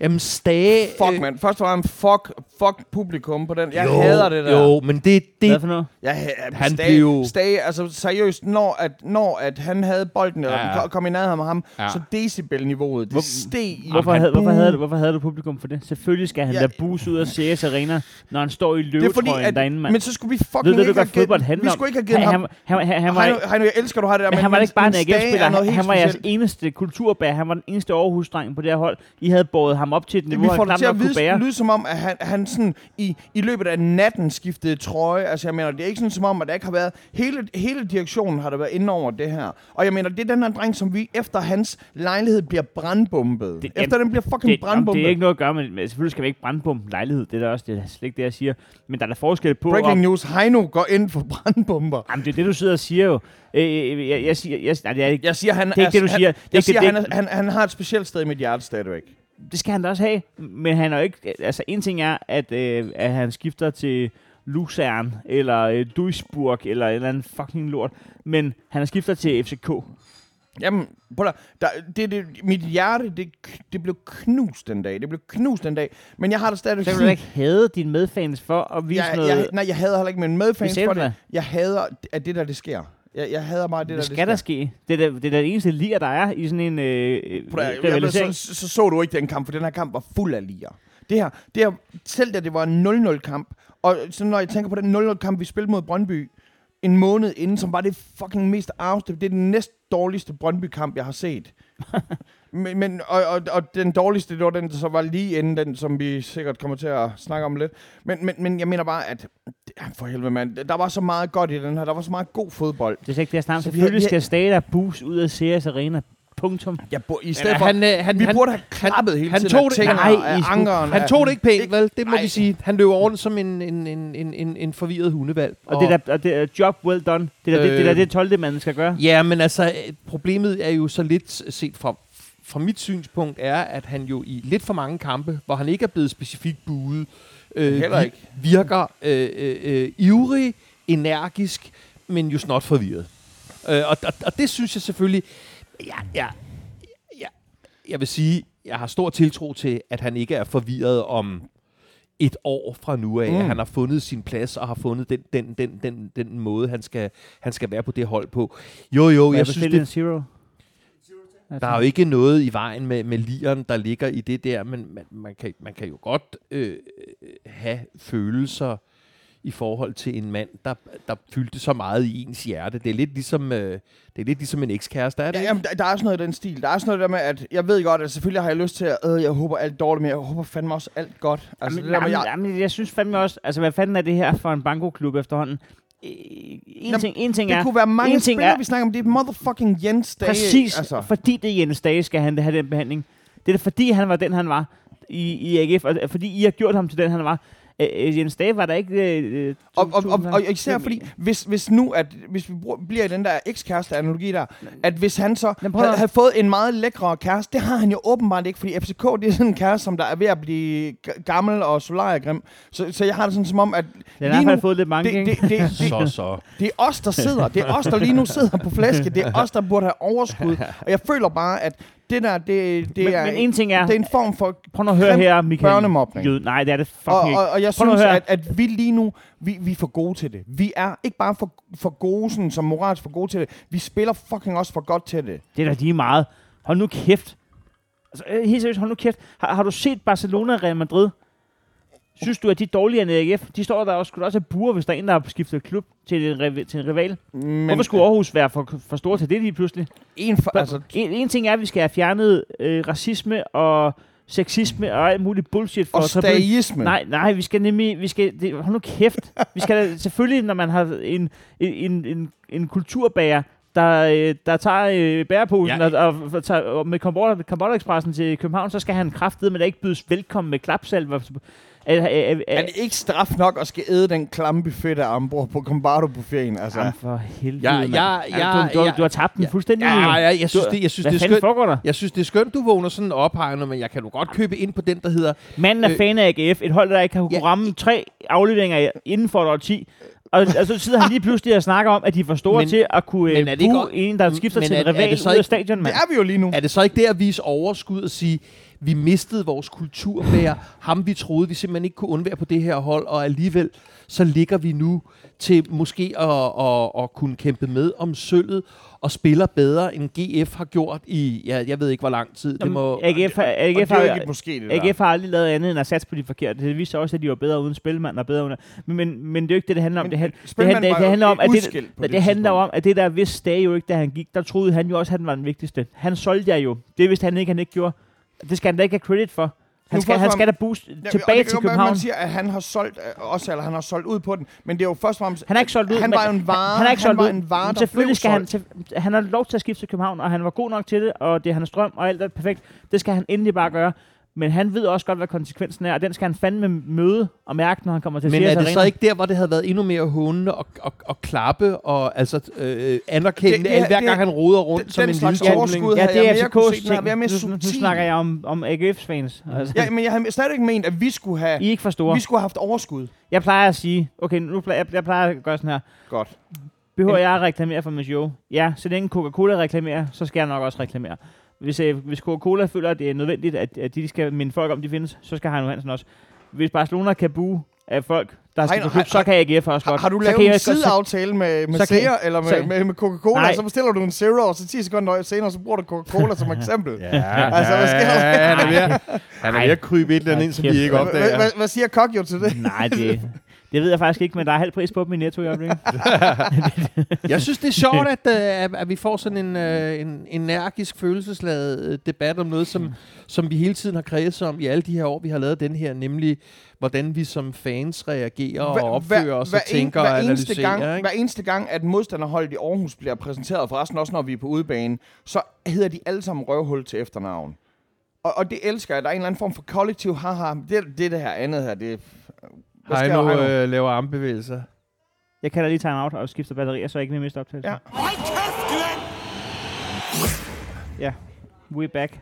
C: Jamen, stage...
B: Fuck, mand. Først var han fuck, fuck publikum på den. Jeg
C: Øh. jo,
B: hader det der.
C: Jo, men det...
A: Hvad
C: det
A: for noget?
B: Jeg, ha-
C: Han
B: Stage,
C: blev-
B: Stage, altså seriøst, når at, når at han havde bolden, eller
C: Ja,
B: ja,
C: ja.
B: kom i nærheden med ham,
C: Ja.
B: ja. så decibel-niveauet, det steg i.
A: Hvorfor,
C: han
A: havde, hvorfor,
C: buede.
A: havde du, hvorfor havde du publikum for det? Selvfølgelig skal han
B: Ja.
A: ja. da bus ud af CS Arena, når han står i
B: Det er fordi,
A: løvetrøjen
B: at,
A: derinde, mand.
B: men så skulle vi
A: Ved
B: fucking
A: du,
B: ikke
A: du
B: have
A: godt fodbold
B: givet,
A: handler
B: vi
A: om?
B: skulle ikke have givet
A: han,
B: ham.
A: Han, han, han, han, var,
B: Heino, Heino, jeg elsker, du har det der.
A: men han var da ikke bare en AGF-spiller. Han, han var jeres
B: en
A: eneste kulturbær. Han var den eneste Aarhus-dreng på det her hold. I havde båret ham op til et
B: det,
A: niveau,
B: vi får
A: han knap
B: det til
A: nok
B: at
A: kunne
B: vide,
A: bære.
B: lyde som om, at han, han sådan i, i løbet af natten skiftede trøje. Altså, jeg mener, det er ikke sådan som om, at der ikke har været... Hele, hele direktionen har der været inde over det her. Og jeg mener, det er den her dreng, som vi efter hans lejlighed bliver brandbombet. Det,
A: Det-
B: efter den bliver fucking
A: Det, jamen,
B: brandbombet.
A: det er ikke noget at gøre med, men selvfølgelig skal vi ikke brandbombe en lejlighed. Det er da også det er slet ikke det, jeg siger. Men der er da forskel på... om-
B: Breaking news. Heino går ind for brandbomber.
A: Jamen, det er det, du sidder og siger jo. Øh, øh, jeg, jeg siger... Jeg, nej, det, er, ikke-
B: Jeg siger, han,
A: Det er ikke det, du siger. Det
B: Han,
A: er
B: jeg
A: ikke
B: siger,
A: det-
B: han, er- han, han har et specielt sted i mit hjerte stadigvæk.
A: det skal han da også have. Men han er jo ikke... Altså, en ting er, at, øh, at han skifter til Luzern, eller øh, Duisburg, eller en eller anden fucking lort. Men han skifter til FCK.
B: Jamen, prøv at, der, det, det, mit hjerte, det, det blev knust den dag. Det blev knust den dag. Men jeg har det stadigvæk...
A: Så kan du da ikke hade dine medfans for at vise
B: jeg,
A: noget...
B: jeg, nej, jeg hader heller ikke min medfans
A: Hvad sagde
B: for
A: du
B: det.
A: da?
B: Jeg hader, at det der, det sker. Jeg, jeg hader meget,
A: det,
B: det, der,
A: det
B: det
A: skal der ske. Det er da det, er da det eneste lir, der er i sådan en øh, øh,
B: Prøv at, jeg, jeg, så,
A: rivalisering.
B: så, så så du ikke den kamp, for den her kamp var fuld af liger. Det her, det her selv da det var en 0-0-kamp, og så når jeg tænker på den 0-0-kamp, vi spillede mod Brøndby en måned inden, som var det fucking mest afstemte. Det er den næst dårligste Brøndby-kamp, jeg har set. men, men, og, og, og den dårligste, det var den, der så var lige inden den, som vi sikkert kommer til at snakke om lidt. Men, men, men jeg mener bare, at ja, for helvede mand, der var så meget godt i den her. Der var så meget god fodbold.
A: Det er slet ikke det, jeg snakker om.
B: Så vi har-
A: Selvfølgelig
B: vi har-
A: skal Stata bus ud af CS Arena. Punktum.
B: Jeg bor, I
C: Men,
B: stedet
C: øh,
B: for,
C: han, øh, han,
B: vi
C: han,
B: burde have klappet hele
C: han
B: tiden
C: tog
B: af
C: det-
B: tingene,
A: nej,
B: af
A: I skulle-
B: ankeren.
C: han
B: af-
C: tog det ikke pænt,
B: Ikke-
C: vel? Det må
B: Nej.
C: vi sige. Han løber rundt som en, en, en, en, en, en forvirret hundevalg.
A: Og, det der, og det er job well done. Det er da det, det, er
C: Øh.
A: da det 12. man skal gøre.
C: Ja, men altså, øh, problemet er jo så lidt set fra, fra mit synspunkt, er, at han jo i lidt for mange kampe, hvor han ikke er blevet specifikt buet, øh,
B: Heller
C: vi-
B: ikke.
C: virker øh, øh, øh, ivrig, energisk, men jo snot forvirret. Øh, og, og, og det synes jeg selvfølgelig, ja, ja, ja, jeg vil sige, jeg har stor tiltro til, at han ikke er forvirret om et år fra nu af, mm.
B: Mm.
C: at han har fundet sin plads og har fundet den, den, den, den, den måde, han skal, han skal være på det hold på. Jo, jo, jeg synes, det,
A: en zero.
C: der er jo ikke noget i vejen med, med lieren, der ligger i det der, men man, man, kan, man kan jo godt øh, øh, have følelser i forhold til en mand, der, der fyldte så meget i ens hjerte. Det er lidt ligesom, øh, det er lidt ligesom en ekskæreste, er det?
B: Ja,
C: ikke?
B: jamen, der, der er sådan noget i den stil. Der er sådan noget der med, at jeg ved godt, at selvfølgelig har jeg lyst til, at øh, jeg håber alt dårligt, men jeg håber fandme også alt godt. Altså,
A: Jamen,
B: det der med,
A: jamen,
B: jeg,
A: jamen, jeg synes fandme også, altså hvad fanden er det her for en bankoklub efterhånden? Øh, En
B: Jamen,
A: ting, en ting
B: det
A: er,
B: kunne være mange
A: en ting
B: spillere,
A: er-
B: vi snakker om. Det er motherfucking Jens Dage.
A: præcis,
B: Altså.
A: altså. fordi det er Jens Dage, skal han have den behandling. Det er da fordi, han var den, han var i, i AGF, og fordi I har gjort ham til den, han var. Øh, øh, Jens Dage var der ikke... Øh, øh,
B: Og, og, og,
A: tusind-
B: og især fordi, hvis, hvis nu, at hvis vi bruger, bliver i den der ekskæreste-analogi der, at hvis han så
A: Men prøv at-
B: havde, havde fået en meget lækre kæreste, det har han jo åbenbart ikke, fordi FCK, det er sådan en kæreste, som der er ved at blive g- gammel og solargrim. Så, så jeg har det sådan som om, at
A: Den har i hvert fald fået lidt mange,
B: det, det, det, det,
C: Så, så.
B: Det er os, der sidder. Det er os, der lige nu sidder på flæsket. Det er os, der burde have overskud. Og jeg føler bare, at det der, det, det,
A: Men-
B: er,
A: men en ting er-
B: det er en form for...
A: Prøv nu at høre
B: Grim
A: her, Michael.
B: børnemobning.
A: Jød. Nej, det er det fucking
B: Og,
A: ikke.
B: og, og jeg
A: Prøv nu at
B: synes,
A: høre.
B: at, at vi lige nu, vi, vi er for gode til det. Vi er ikke bare for, for gode, sådan, som moralsk for gode til det. Vi spiller fucking også for godt til det.
A: Det er da lige meget. Hold nu kæft. Altså, øh, helt seriøst, hold nu kæft. Har, har du set Barcelona og Real Madrid? Synes du, at de er dårligere end AGF? De står der også, skulle da også have buer, hvis der er en, der har skiftet klub til en, rival, til en rival.
B: Men
A: Hvorfor skulle Aarhus være for, for store til det lige pludselig?
B: en for, altså,
A: En, en ting er, at vi skal have fjernet øh, racisme og sexisme og alt muligt bullshit. For
B: og
A: at drible-
B: stagisme.
A: Nej, nej, vi skal nemlig, vi skal, det, hold nu kæft. Vi skal da- selvfølgelig, når man har en, en, en, en, en kulturbærer, der, øh, der tager øh, bæreposen
C: Ja.
A: ja. og, og, og, tager, og med Kombotter- Kombotter-Expressen til København, så skal han kraftede, men da ikke bydes velkommen med klapsalver. Øh, øh, øh,
B: Er
A: øh,
B: det ikke straf nok at skal æde den klamme buffet af Ambro på Combardo-buffeten? Altså,
A: Jamen for helvede,
C: Ja,
A: mand.
C: ja, ja,
A: Jamen, du, du,
C: ja.
A: du har tabt den
C: Ja.
A: fuldstændig.
C: Ja, ja, jeg synes, det, jeg synes,
A: Hvad
C: det er
A: fanden
C: skønt.
A: foregår der?
C: Jeg synes, det er skønt, du vågner sådan ophegnet, men jeg kan jo godt købe ind på den, der hedder...
A: Manden er
C: Øh,
A: fan af AGF, et hold, der ikke har kunnet
C: ja.
A: ramme tre afleveringer inden for et årti. Og, og så sidder han lige pludselig og snakker om, at de er for store
C: Men-
A: men, til at kunne
C: men
A: men
C: er det ikke også-
A: en, der skifter
C: men
A: til
C: er-
A: en
C: er det
A: rival
C: så
A: ud af
C: ikke-
A: stadion, mand.
B: det er vi jo lige nu.
C: Er det så ikke det at vise overskud og sige, vi mistede vores kulturbærer, ham vi troede, vi simpelthen ikke kunne undvære på det her hold, og alligevel så ligger vi nu til måske at, at, at kunne kæmpe med om sølvet og spiller bedre, end GF har gjort i, ja, jeg ved ikke hvor lang tid. Det må,
A: AGF, har-
B: Og det
A: AGF,
B: er jo ikke et
A: har,
B: måske, det der.
A: AGF har aldrig lavet andet end at satse på de forkerte. Det viser også, at de var bedre uden spilmand og bedre under. Men, men, men det er jo ikke det, det handler om.
B: Men
A: det, han, det,
B: spilmanden
A: handler,
B: var
A: det
B: jo
A: handler om, at det,
B: udskilt
A: det,
B: på det
A: det handler
B: tidspunkt.
A: om, at det der vidste Stage jo ikke, da han gik, der troede han jo også, at han var den vigtigste. Han solgte jeg jo. Det vidste han ikke, han ikke gjorde. Det skal han da ikke have credit for. Han
B: Nu
A: skal,
B: først
A: han
B: var-
A: skal da boost
B: Ja, og
A: tilbage
B: det kan
A: til
B: godt være,
A: København.
B: Man siger, at han har solgt øh, også, eller han har solgt ud på den, men det er jo først og fremmest...
A: Han er ikke solgt ud.
B: Han
A: men-
B: var jo en vare.
A: Han, han er ikke solgt
B: han var
A: ud.
B: en vare,
A: Men
B: der
A: Selvfølgelig
B: blev
A: skal han,
B: solgt.
A: til- han har lov til at skifte til København, og han var god nok til det, og det er hans drøm, og alt er perfekt. Det skal han endelig bare gøre. Men han ved også godt, hvad konsekvensen er, og den skal han fandme møde og mærke, når han kommer til
C: Men
A: Sears
C: er det
A: Arena.
C: så ikke der, hvor det havde været endnu mere hånende og, og, og klappe og altså øh, anerkende,
B: Det-
C: det,
B: det-
C: hver gang
B: det-
C: han roder rundt
B: den-
C: som
B: den
C: en
B: slags
C: lille
B: overskud-
C: tomling?
B: Gud,
A: Ja,
B: havde
A: det
B: jeg
A: er
B: mere kunne se
A: FCK's
B: den her, være
A: ting.
B: mere
A: Nu, nu, nu
B: subtil.
A: snakker jeg om, om AGF's fans. Altså,
B: Ja, men jeg har stadig ikke ment, at vi skulle have,
A: I er ikke for store.
B: vi skulle have haft overskud.
A: Jeg plejer at sige, okay, nu plejer, jeg, jeg plejer at gøre sådan her.
B: Godt.
A: Behøver jeg at reklamere for Miss Jo? Ja, så længe Coca-Cola reklamerer, så skal jeg nok også reklamere. Hvis, øh, hvis Coca-Cola føler, at det er nødvendigt, at, at de skal minde folk om, de findes, så skal Heino Hansen også. Hvis Barcelona kan buge af folk, der skal
B: Heino,
A: på klub,
B: har-
A: så kan AGF også
B: Har,
A: godt.
B: har du
A: så kan
B: lavet en
A: jeg- så-
B: sideaftale med,
A: så
B: med
A: kan-
B: Seer eller med,
A: så-
B: med, med Coca-Cola,
A: Nej.
B: og så bestiller du en Zero, og så 10 sekunder senere, så bruger du Coca-Cola som eksempel.
C: Ja,
B: Altså, hvad sker der?
C: ja, han er ved at- han er ved at krybe et eller andet
A: Ej,
C: ind, som
A: kæft,
C: vi ikke
A: mand.
B: Hvad-
C: opdager.
B: hvad- Hvad siger Kok jo til det?
A: Nej, det, det ved jeg faktisk ikke, men der er halv pris på dem i Netto i øjeblikket.
C: Jeg synes, det er sjovt, at, øh, at, at vi får sådan en, øh, en energisk, følelsesladet øh, debat om noget, som, som vi hele tiden har kredset om i alle de her år, vi har lavet den her, nemlig hvordan vi som fans reagerer og opfører os og tænker
B: hver
C: og
B: eneste
C: analyserer.
B: gang,
C: ikke?
B: Hver eneste gang, at modstanderholdet i Aarhus bliver præsenteret, forresten også når vi er på udebane, så hedder de alle sammen røvhul til efternavn. Og, og det elsker jeg. Der er en eller anden form for kollektiv haha. Det, det, det her andet her, det... Hvad sker
C: Heino
B: der, Heino?
C: øh, laver armbevægelser.
A: Jeg kalder lige time out og skifter batterier, så jeg ikke vil miste optagelsen.
B: Ja.
D: Hold kæft, Glenn!
A: Ja, we're back.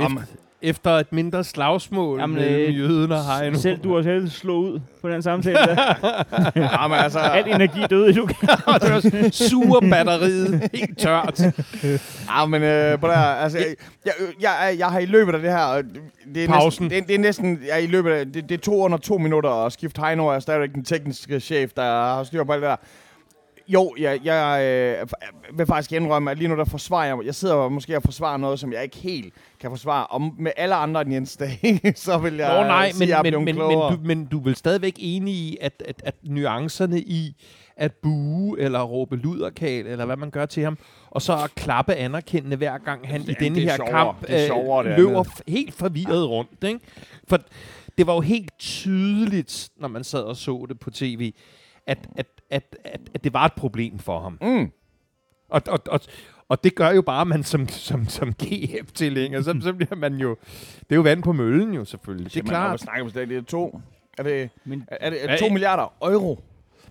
B: Jamen,
C: Efter et mindre slagsmål Jamen,
A: Jamen,
C: mellem
A: øh,
C: jøden og Heino.
A: Selv du har selv slå ud på den samtale. Der.
B: jamen altså...
A: Al energi døde i Lukas.
C: Suger batteriet helt tørt.
B: Ja, men øh, på der, altså, jeg, jeg, jeg, jeg har i løbet af det her... og Det er
C: Pausen.
B: Næsten, det, er- det er næsten... Jeg er i løbet af... Det, det er to under to minutter, og Skift Heino er stadigvæk den tekniske chef, der har styr på alt det der. Jo, jeg, jeg øh, f- vil faktisk indrømme, at lige nu der forsvarer jeg, jeg sidder måske og forsvarer noget, som jeg ikke helt kan forsvare. Og med alle andre end Jens Dag, så vil jeg
C: Nå nej,
B: sige,
C: men,
B: at jeg er
C: men,
B: blevet
C: men, men,
B: klogere.
C: du, men du er vel stadigvæk enig i, at, at, at nuancerne i at buge eller råbe luderkal, eller hvad man gør til ham, og så at klappe anerkendende hver gang han i
B: Jamen,
C: denne
B: det er
C: her
B: sjovere.
C: kamp
B: Det er sjovere, det
C: øh, løber
B: andet.
C: f- helt forvirret rundt. Ikke? For det var jo helt tydeligt, når man sad og så det på tv, at, at, at, at, at det var et problem for ham.
B: Mm.
C: Og, og, og, og det gør jo bare, at man som, som, som GF-tilhænger, så, så bliver man jo... Det er jo vand på møllen jo, selvfølgelig. Det er
B: Jamen, når man
C: klart.
B: snakker om det, det er to... Er det,
A: Men-
B: er det
C: Ja,
B: 2
C: ja.
B: milliarder euro?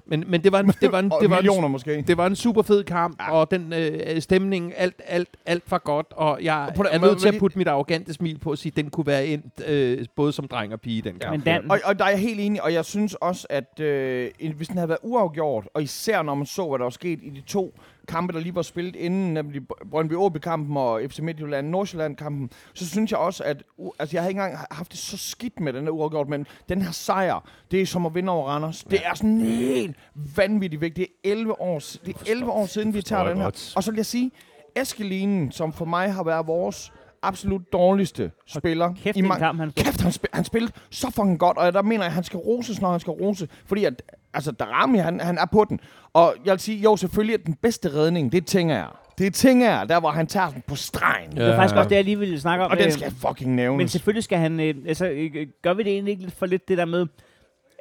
C: Men, men det var en, det var en,
B: Og
C: det var en,
B: millioner måske?
C: det var en super fed kamp, ja. og den øh, stemning, alt, alt, alt var godt, og jeg
B: på
C: og
B: den
C: er
B: måde-
C: nødt til at
B: men-
C: putte mit arrogante smil på og sige, den kunne være endt øh, både som dreng og pige den kamp.
A: Men Dan,
B: Og, og der er jeg helt enig, og jeg synes også, at øh, en- hvis den havde været uafgjort, og især når man så, hvad der var sket i de to kampe, der lige var spillet inden, nemlig Br- brøndby åby kampen og FC Midtjylland nordsjælland kampen så synes jeg også, at u- altså, jeg har ikke engang haft det så skidt med den her uafgjort, men den her sejr, det er som at vinde over Randers. Det er sådan helt vanvittigt vigtigt. Det er 11 år, s- det er 11 år siden, vi tager
C: jeg
B: den her.
C: godt.
B: Og så vil jeg sige, Eskelinen, som for mig har været vores absolut dårligste spiller.
A: kæft,
B: i
A: en
B: ma-
A: kamp, han spillede.
B: kæft, han, spil, han spillede så fucking godt, og der mener jeg, at han skal roses, når han skal rose, fordi at, altså, Darami, han, han er på den. Og jeg vil sige, jo, selvfølgelig er den bedste redning, det tænker jeg. Det tænker jeg, der hvor han tager den på stregen. Ja.
A: det var faktisk også det, jeg lige ville snakke om.
B: Og den
A: øh,
B: skal fucking
A: Men
B: nævnes.
A: selvfølgelig skal han... Øh, altså, øh, gør vi det egentlig ikke lidt for lidt det der med,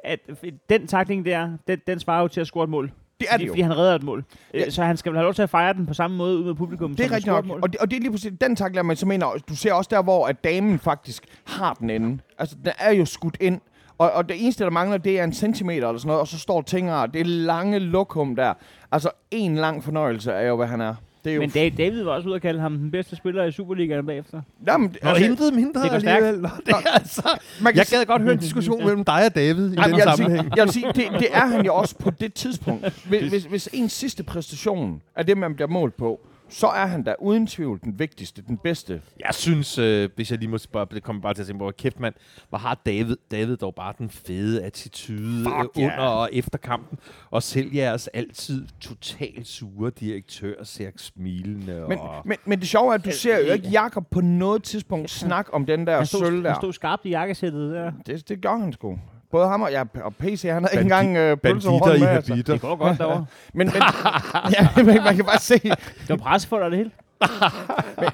A: at øh, den takling der, den, den svarer jo til at score et mål.
B: det er
A: Fordi,
B: det jo.
A: fordi han redder et mål.
B: Ja.
A: Ja. Så han skal vel have lov til at fejre den på samme måde ud med publikum.
B: Det er
A: som
B: rigtigt nok.
A: scoremål.
B: Og det, og det er lige præcis den takler, man så mener. og Du ser også der, hvor at damen faktisk har den inde. Altså, den er jo skudt ind. Og, og det eneste, der mangler, det er en centimeter eller sådan noget. Og så står Tinger, det lange lokum der. Altså, en lang fornøjelse er jo, hvad han er. Det er jo
A: Men Da- David var også ude at kalde ham den bedste spiller i Superligaen bagefter.
B: Jamen,
C: Og altså, intet mindre
A: det går stærkt.
C: alligevel. Nå, det er altså,
B: man kan
C: jeg
B: sige-
C: gad godt høre en diskussion mellem dig og David i den
B: jeg, vil sige,
C: sammenhæng.
B: jeg vil sige, det, det er han jo også på det tidspunkt. Hvis, hvis, hvis ens sidste præstation er det, man bliver målt på, så er han da uden tvivl den vigtigste, den bedste.
C: Jeg synes, øh, hvis jeg lige må spørge, det kommer bare til at tænke på, kæft mand, hvor har David, David dog bare den fede attitude øh,
B: Fuck
C: under
B: ja.
C: og efter kampen, og selv jeres altid totalt sure direktør ser smilende
B: Men,
C: og...
B: men, men det sjove er, at du ser jo ikke Jakob på noget tidspunkt snakke om den
A: Altså,
B: der
A: Han stod,
B: sølv
A: han
B: der.
A: stod skarpt i jakkesættet der.
B: Det, det gør han sgu. Både ham og, ja, og PC, han havde ikke
C: Bandi-
B: engang øh, pølser over hånden
C: Banditter i
B: med. Altså.
C: habitter.
A: Det går godt derovre.
B: Men, men, ja, men man kan bare se.
A: Det var pressefolder det hele.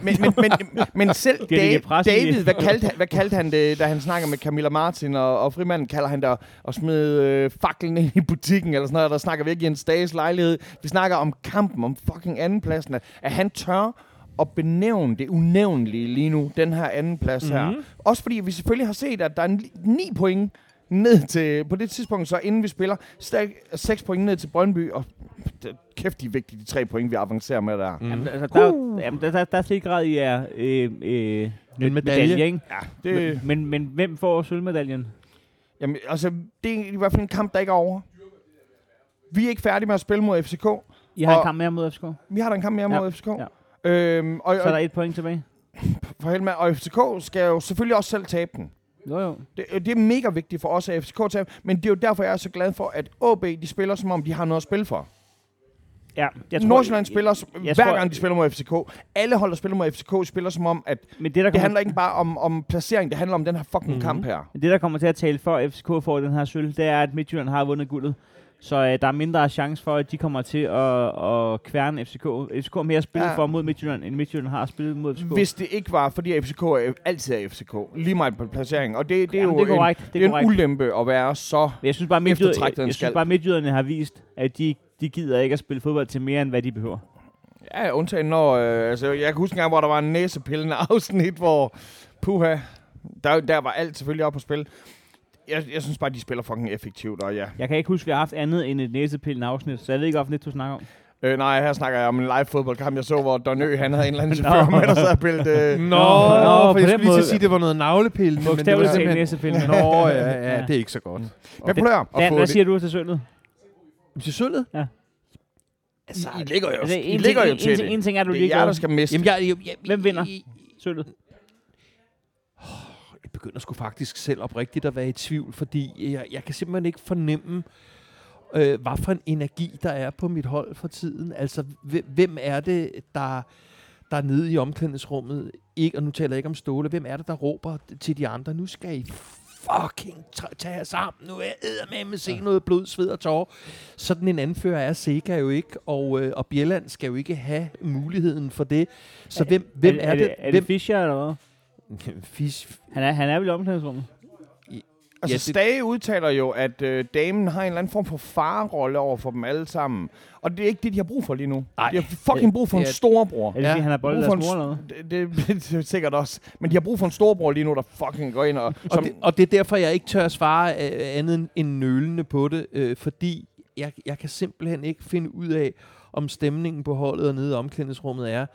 B: Men, men, men, men, men selv
A: Det er det, det
B: da,
A: er pressen,
B: David,
A: det.
B: hvad kaldte, han, hvad kaldte han det, da han snakker med Camilla Martin og, og frimanden, kalder han der og smed øh, faklen ind i butikken eller sådan noget, der snakker vi ikke i Jens Dages lejlighed. Vi snakker om kampen, om fucking andenpladsen, at, at han tør at benævne det unævnlige lige nu, den her andenplads mm-hmm. her. Også fordi vi selvfølgelig har set, at der er en, ni point ned til, på det tidspunkt så, inden vi spiller, stadig 6 point ned til Brøndby, og d- kæft, de er vigtige, de tre point, vi avancerer med der. Mm.
A: Jamen, altså, der, uh. jamen, der, der, der er sikkert i er øh, øh,
C: En
A: medalje, ikke?
B: Det,
A: Men, men hvem får sølvmedaljen?
B: Jamen, altså, det er i hvert fald en kamp, der ikke er over. Vi er ikke færdige med at spille mod FCK.
A: I har
B: Og- Øh,
A: en kamp mere mod FCK.
B: Vi har da en kamp mere
A: Ja,
B: mod FCK.
A: ja.
B: Øhm, og,
A: Så er der
B: og,
A: et point tilbage.
B: for helvede, og FCK skal jo selvfølgelig også selv tabe den.
A: Jo, jo.
B: Det, det er mega vigtigt for os, at FCK taber, men det er jo derfor, jeg er så glad for, at AB de spiller, som om de har noget at spille for.
A: Ja, jeg tror,
B: Nordsjælland spiller, som-
A: jeg
B: hver
A: tror-
B: gang de spiller mod FCK, alle hold, der spiller mod FCK, spiller som om, at
A: Men det, der
B: det
A: kommer, Mhm.
B: handler ikke bare om, om placering, det handler om den her fucking mm-hmm. kamp her.
A: det, der kommer til at tale for, at FCK får den her sølv, det er, at Midtjylland har vundet guldet. Så øh, der er mindre chance for, at de kommer til at, at kværne FCK. FCK har mere spillet
B: Ja.
A: ja. for mod Midtjylland, end Midtjylland har spillet mod FCK.
B: Hvis det ikke var, fordi FCK er, altid er FCK, lige meget på placeringen. Og det, det er
A: Jamen,
B: jo
A: det er
B: en,
A: korrekt. Det er
B: det er en
A: korrekt.
B: ulempe at være så
A: Men jeg synes bare, midtjyd- jeg,
B: Eftertragtet en
A: jeg
B: skalp.
A: synes bare midtjyderne har vist, at de, de gider ikke at spille fodbold til mere, end hvad de behøver.
B: Ja, undtagen når... Øh, altså, jeg kan huske en gang, hvor der var en næsepillende afsnit, hvor... Puha, der, der var alt selvfølgelig op på spil. Jeg, jeg synes bare, de spiller fucking effektivt, og ja.
A: Jeg kan ikke huske, at vi har haft andet end et næsepillende afsnit, så jeg ved ikke, hvorfor lidt du snakker om.
B: Øh, nej, her snakker jeg om en live fodboldkamp, jeg så, hvor Don Ø, han havde en eller anden chauffør med, der sad og pillede... Øh,
A: Mm.
C: Nå,
A: Nå, på
C: Nå for
A: den
C: jeg skulle lige til
A: måde.
C: at sige, at det var noget navlepillende. men det var
A: Bogstaveligt talt
C: simpelthen-
A: næsepillende.
C: Nå, ja, ja, det er ikke så godt.
B: men prøv at høre.
C: Og
A: Dan,
C: få
A: hvad
C: det-
A: siger du til sølvet?
C: Til sølvet?
A: Ja.
C: Altså,
B: I ligger jo,
A: Altså,
B: altså, I
A: en,
B: ligger
A: ting,
B: jo
A: en,
B: til
A: en,
B: det.
A: ting- en ting er, at du
B: det er
A: lige
B: jer, der skal miste.
C: jamen, jeg, jeg, jeg,
A: Hvem vinder? sølvet.
C: Jeg begynder sgu faktisk selv oprigtigt at være i tvivl, fordi jeg, jeg kan simpelthen ikke fornemme, øh, hvad for en energi, der er på mit hold for tiden. Altså, hvem, hvem er det, der, der er nede i omklædningsrummet, ikke, og nu taler jeg ikke om Ståle, hvem er det, der råber til de andre, nu skal I fucking t- tage jer sammen, nu er jeg med se noget blod, sved og tårer. Sådan en anfører er Sega jo ikke, og, øh, og Bjelland skal jo ikke have muligheden for det. Så hvem, hvem er,
A: er,
C: det?
A: Er det
C: hvem?
A: Fischer eller hvad?
C: Fish.
A: Han er, han er vel i omklædningsrummet.
B: Altså, ja,
C: Ja, det-
B: Stage udtaler jo, at øh, damen har en eller anden form for farerolle over for dem alle sammen. Og det er ikke det, de har brug for lige nu.
C: Ej.
B: De har fucking brug for en
C: Det er-
B: storbror.
A: Er det
C: Ja.
A: ja. fordi, han har boldet
B: Brug
A: deres
B: for en
A: mor eller hvad?
B: Det, det, det, er sikkert også. Men de har brug for en storbror lige nu, der fucking går ind og...
C: Og, det, og det er derfor, jeg ikke tør svare øh, andet end- end nølende på det, øh, fordi jeg, jeg kan simpelthen ikke finde ud af, om stemningen på holdet og nede i omklædningsrummet er,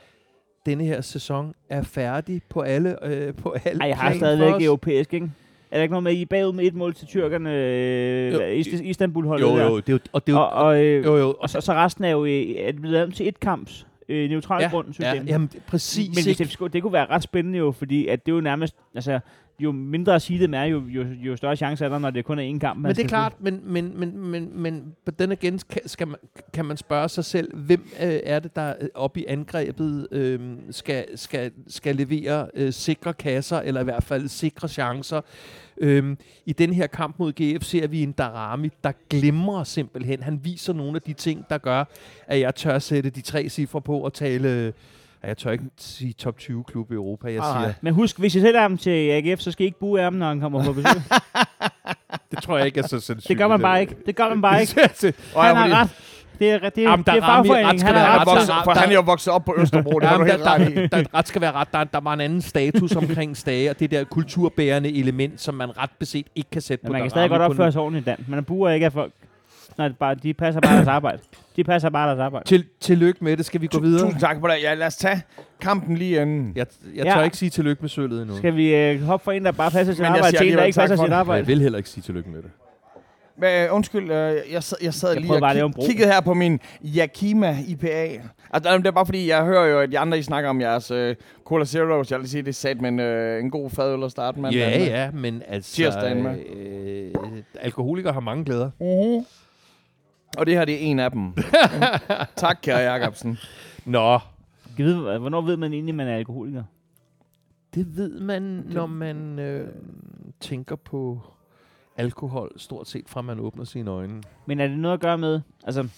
C: denne her sæson er færdig på alle øh, på alle
A: Ej, jeg har
C: planer for
A: stadigvæk
C: os.
A: europæisk, ikke? Er der ikke noget med, at I er bagud med et mål til tyrkerne, øh,
C: Jo,
A: hvad, Ist- Istanbul-holdet
C: Jo,
A: der?
C: jo, det er jo, og det er jo,
A: Og, og, øh,
C: jo, jo, og
A: og så, så resten er jo øh, er det blevet lavet om til et kamps øh, neutralt ja, grund, synes
C: ja, jamen, det er præcis.
A: Men hvis
C: ikke?
A: FCK, det kunne være ret spændende jo, fordi at det er jo nærmest, altså, jo mindre at sige det er, jo, jo, jo større chance er der, når det kun er én kamp. man
C: Men det er
A: skal
C: klart, men, men, men, men, men på den igen skal- skal man, kan man spørge sig selv, hvem øh, er det, der øh, oppe i angrebet øh, skal, skal, skal levere øh, sikre kasser, eller i hvert fald sikre chancer. Øh, I den her kamp mod GF ser vi en Darami, der glemmer simpelthen. Han viser nogle af de ting, der gør, at jeg tør sætte de tre cifre på og tale... Øh, ej, jeg tør ikke sige top 20 klub i Europa, jeg
B: Ej, nej.
C: siger.
A: sige. Men husk, hvis I sælger ham til AGF, så skal I ikke buge af ham, når han kommer på besøg.
C: Det tror jeg ikke er så sandsynligt. øh,
A: det gør man bare ikke. Det gør man bare ikke.
B: og jeg
A: Han
B: var lige-
A: har ret. Det er, det,
C: Jamen,
A: Jamen,
C: der
A: det er
C: rammer I ret,
A: fagforeningen.
C: skal
A: Han
C: der
A: har
B: Han
A: ret.
B: er
C: ret.
B: vokset, for
C: der-
B: han er jo vokset op på Østerbro, det har du
C: Jamen, der,
B: helt ret i.
C: der, der, ret skal være ret. Der, der var en anden status omkring stage, og det der kulturbærende element, som man ret beset ikke kan sætte
A: Men
C: på
A: man kan
C: Darami
A: stadig godt
C: på nu.
A: opføre sig ordentligt i Dan. Man buer ikke af folk. Nej, det er bare, de passer bare deres arbejde. De passer bare deres arbejde.
C: Til, tillykke med det. Skal vi gå videre?
B: Tusind tak for det. Ja, lad os tage kampen lige inden.
C: Jeg, jeg
A: Ja.
C: tør ikke sige tillykke med sølvet endnu.
A: Skal vi øh, hoppe fra en, der bare passer sit
B: Men jeg
A: arbejde,
B: siger
A: til en, der
B: alligevel
A: ikke
B: tak
A: passer
B: for
A: sit
B: det.
A: arbejde?
C: vil heller ikke sige tillykke med det.
B: Men, øh, undskyld, øh, jeg sad, jeg sad
A: Jeg
B: lige
A: prøvede bare
B: og
A: at lave
B: kig,
A: en bro.
B: kiggede her på min Yakima IPA. Altså, det er bare fordi, jeg hører jo, at de andre I snakker om jeres øh, Cola Zeros. Jeg vil sige, det er sat, men øh, en god fadøl at starte med. øh,
C: Ja, ja, men altså...
B: Tirsdagen, hva'?
C: øh, alkoholikere har mange glæder.
B: Uh-huh. Og det her, det er en af dem. tak, kære Jacobsen.
C: Nå,
A: Kan vide, hv- Hvornår ved man egentlig, man er alkoholiker?
C: det ved man, når man øh, tænker på alkohol, stort set fra man åbner sine øjne.
A: Men er det noget at gøre med, altså,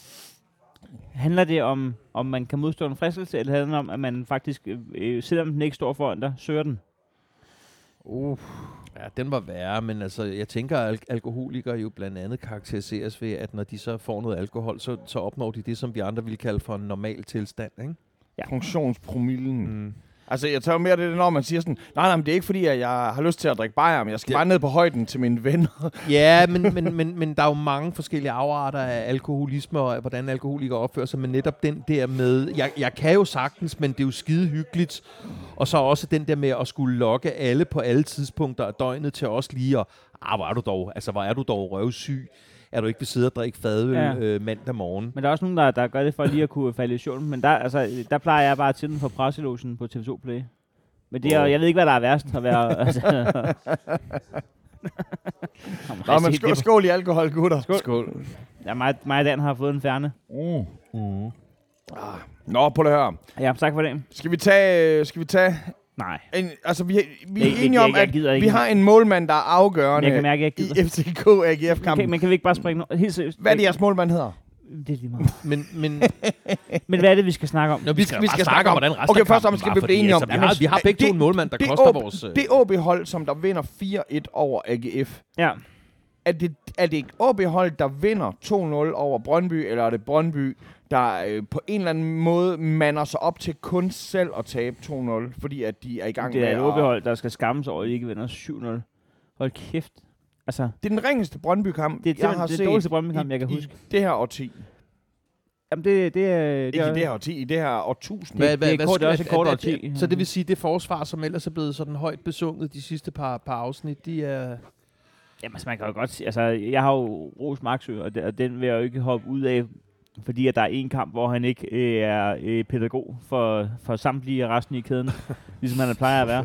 A: handler det om, om man kan modstå en fristelse, eller handler det om, at man faktisk, øh, øh, selvom den ikke står foran dig, søger den?
C: Uh. Ja, den var værre, men altså, jeg tænker, at al- alkoholikere jo blandt andet karakteriseres ved, at når de så får noget alkohol, så, så opnår de det, som vi andre ville kalde for en normal tilstand, ikke?
B: Funktionspromillen.
C: Mm.
B: Altså, jeg tager jo mere det, når man siger sådan, nej, nej, men det er ikke fordi, at jeg har lyst til at drikke bajer, men jeg skal
C: Det-
B: bare ned på højden til mine venner.
C: Ja, men, men, men, men der er jo mange forskellige afarter af alkoholisme og af, hvordan alkoholikere opfører sig, men netop den der med, jeg, jeg kan jo sagtens, men det er jo skide hyggeligt, og så også den der med at skulle lokke alle på alle tidspunkter af døgnet til os lige at, ah, hvor er du dog, altså hvor er du dog røvsyg, er du ikke ved sidde og drikke fadøl ja.
A: Ja.
C: øh, mandag morgen?
A: Men der er også nogen, der, der gør det for lige at kunne falde i søvn, men der, altså, der plejer jeg bare til den fra presselogen på TV2 Play. Men det er,
C: Wow.
A: jeg ved ikke, hvad der er værst at være. altså.
B: Nå, men skål, skål i alkohol, gutter. Skål.
C: Skål.
A: Ja, mig, mig og Dan har fået en færne.
B: Mm. Nå, på det her.
A: Ja, tak for det.
B: Skal vi tage, øh, skal vi tage
A: Nej.
B: en, altså vi, vi
A: Det-
B: er
A: det-
B: enige
A: jeg-
B: om,
A: jeg
B: at
A: gider ikke.
B: vi har en målmand, der er
A: Men
B: afgørende
A: jeg kan mærke, at jeg ikke gider.
B: i FCK-AGF-kampen.
A: Okay, men kan vi ikke bare springe no- Helt seriøst.
B: Hvad er det, jeres målmand hedder?
A: Det er lige meget.
C: Men, men
A: Men hvad er det, vi skal snakke om?
C: Nå, vi, skal, vi skal snakke om, hvordan resten
B: Okay,
C: af
B: først
C: kampen
B: skal
C: var,
B: vi
C: fordi,
B: blive enige
C: altså,
B: om-
C: Vi har, vi har begge
B: Det-
C: to en målmand, der
B: det
C: koster
B: åb-
C: vores... øh,
B: Det OB-hold, som der vinder 4-1 over AGF,
A: Ja.
B: er det, er det OB-hold, der vinder 2-0 over Brøndby, eller er det Brøndby, der øh, på en eller anden måde mander sig op til kun selv at tabe 2-0, fordi at de er i gang
A: Det
B: med
A: er et
B: at-
A: OB-hold, der skal skamme sig over, at de ikke vinder 7-0. Hold kæft. Altså,
B: Det er den ringeste Brøndby-kamp,
A: det er
B: jeg har
A: simpelthen det
B: set
A: dårligste Brøndby-kamp, jeg kan
B: i
A: huske.
B: det her årti.
A: Jamen, det, det, er...
B: Ikke i det her
A: er-
B: årti, i det her årtusind.
A: Hvad- det er kort- det er også et kort
C: at-
A: årti.
C: at- Så det vil sige, det forsvar, som ellers er blevet sådan højt besunget de sidste par, par afsnit, de er...
A: Jamen, altså, man kan jo godt se, altså, jeg har jo Ros Maxø, og, de- og den vil jeg jo ikke hoppe ud af, fordi at der er en kamp, hvor han ikke øh, er øh, pædagog for, for samtlige af resten i kæden, ligesom han plejer at være.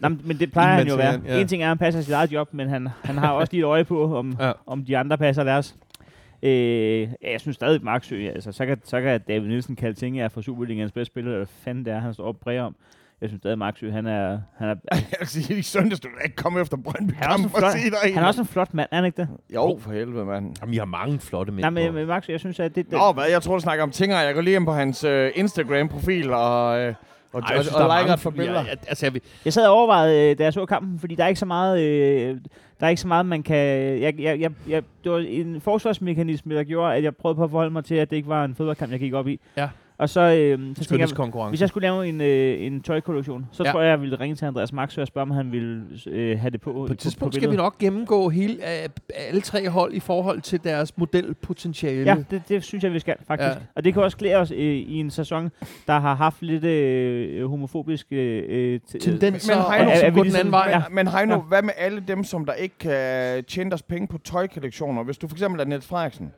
A: Nå, men men det plejer han jo at være.
C: Imens, ja.
A: Ja. En ting er, at han passer sit eget job, men han, han har også lige et øje på, om,
C: Ja.
A: ja. om de andre passer deres. Øh, ja, jeg synes stadig, Marksø, altså, så kan, så kan David Nielsen kalde ting, jeg for Superligans bedste spiller, eller hvad fanden det er, han står op og bræger om. Jeg synes stadig, Marksø, han er, han er, altså,
B: Jeg vil sige, i søndags, du kan ikke komme efter Brøndby
A: han er, også, en
B: kamp og se
A: flot,
B: dig.
A: han er også en flot mand, er han ikke det?
B: Jo, for helvede, mand.
C: Jamen, I har mange flotte mænd
A: Nej, men,
C: på.
A: men Marksø, jeg synes, at det, det
B: Nå, hvad? Jeg tror, du snakker om ting, og jeg går lige ind på hans øh, Instagram-profil og... Øh, og,
C: Ej, jeg synes,
B: og,
C: der er
B: og
C: mange
B: liker et par
C: fordi jeg-
B: billeder.
C: jeg- Altså, jeg, vil-
A: Jeg sad og overvejede, øh, da jeg så kampen, fordi der er ikke så meget, øh, der er ikke så meget man kan... Jeg, jeg, jeg, jeg, det var en forsvarsmekanisme, der gjorde, at jeg prøvede på at forholde mig til, at det ikke var en fodboldkamp, jeg gik op i.
C: Ja.
A: Og så, øh, så tænkte jeg, hvis
C: skønhedskonkurrence.
A: jeg skulle lave en, øh, en tøjkollektion, så
C: Ja.
A: ja. tror jeg, jeg ville ringe til Andreas Max og spørge, om han ville øh, have det på.
C: På et tidspunkt skal vi nok gennemgå hele, øh, alle tre hold i forhold til deres modelpotentiale.
A: Ja, det, det synes jeg, vi skal, faktisk.
C: Ja.
A: Ja. Og det kan også klæde os øh, i en sæson, der har haft lidt øh, homofobiske øh, t-
C: Tendenser,
B: Men Heino-
C: men, men,
A: Er- er
C: som
A: vi
C: går den
A: ligesom-
C: anden vej.
A: Ja.
B: Men, men Heino,
A: Ja.
B: hvad med alle dem, som der ikke kan tjene deres penge på tøjkollektioner? Hvis du for eksempel er Niels Frederiksen,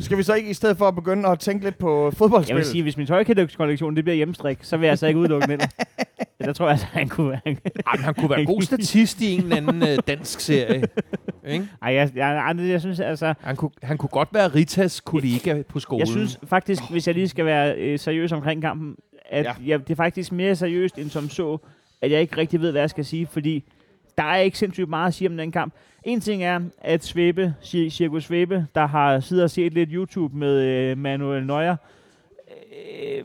B: skal vi så ikke i stedet for at begynde at tænke lidt på
A: Jeg vil
B: fodboldspil?
A: sige, hvis min tøjkollektion det bliver hjemmestrik, så vil jeg altså ikke udelukke den. Der tror jeg altså, han kunne være.
C: Ej, men han kunne være god statist i en eller anden øh, dansk serie. Ikke?
A: Ej, jeg, jeg, jeg, jeg synes altså...
C: Han, kunne, han kunne godt være Ritas kollega på skolen.
A: Jeg synes faktisk, hvis jeg lige skal være øh, seriøs omkring kampen, at
B: Ja.
A: ja. jeg, det er faktisk mere seriøst end som så, at jeg ikke rigtig ved, hvad jeg skal sige, fordi der er ikke sindssygt meget at sige om den kamp. En ting er, at Svebe, Cir- Cirko Svebe, der har siddet og set lidt YouTube med øh, Manuel Neuer, øh,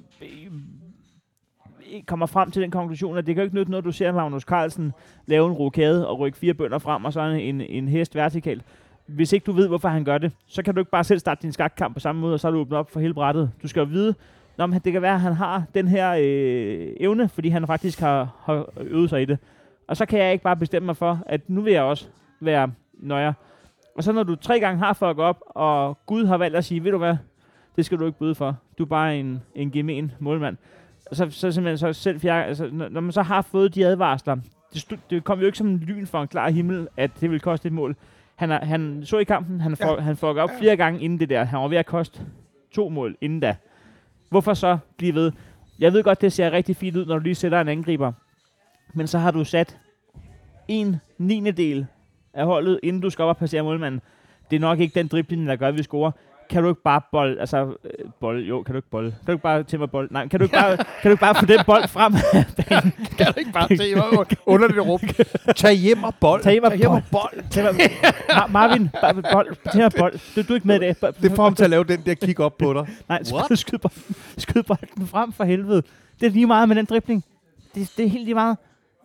A: øh, kommer frem til den konklusion, at det kan jo ikke nytte noget, du ser Magnus Carlsen lave en rokade og rykke fire bønder frem, og så en, en hest vertikalt hvis ikke du ved, hvorfor han gør det, så kan du ikke bare selv starte din skakkamp på samme måde, og så er du åbnet op for hele brættet. Du skal jo vide, Nå, men det kan være, at han har den her øh, evne, fordi han faktisk har, har øvet sig i det. Og så kan jeg ikke bare bestemme mig for, at nu vil jeg også være nøjer. Og så når du tre gange har for at gå op, og Gud har valgt at sige, ved du hvad, det skal du ikke byde for. Du er bare en, en gemen målmand. Og så, så simpelthen så selv fjer, altså, når, når man så har fået de advarsler, det, stu- det kom jo ikke som en lyn fra en klar himmel, at det ville koste et mål. Han, er, han så i kampen, han, for, ja. han fucker op ja. flere gange inden det der. Han var ved at koste to mål inden da. Hvorfor så blive ved? Jeg ved godt, det ser rigtig fint ud, når du lige sætter en angriber. Men så har du sat en niende del af holdet, inden du skal op og passere målmanden. Det er nok ikke den dribling, der gør, at vi scorer. Kan du ikke bare bold, altså øh, bold, jo, kan du ikke bold. Kan du ikke bare til mig bold? Nej, kan du ikke bare, kan du ikke bare få den bold frem?
C: kan du ikke bare tage hjem og,
B: Under det rum.
C: tag hjem og bold?
A: Tag hjem og bold.
C: bold.
A: Til mig, Ma- Marvin, bare bold, til mig bold. Du, du er ikke med i det.
C: Det får ham til at lave den der kick op på dig.
A: Nej, skyd,
C: What?
A: skyd, bolden, skyd bolden frem for helvede. Det er lige meget med den dribling. Det, det er helt lige meget.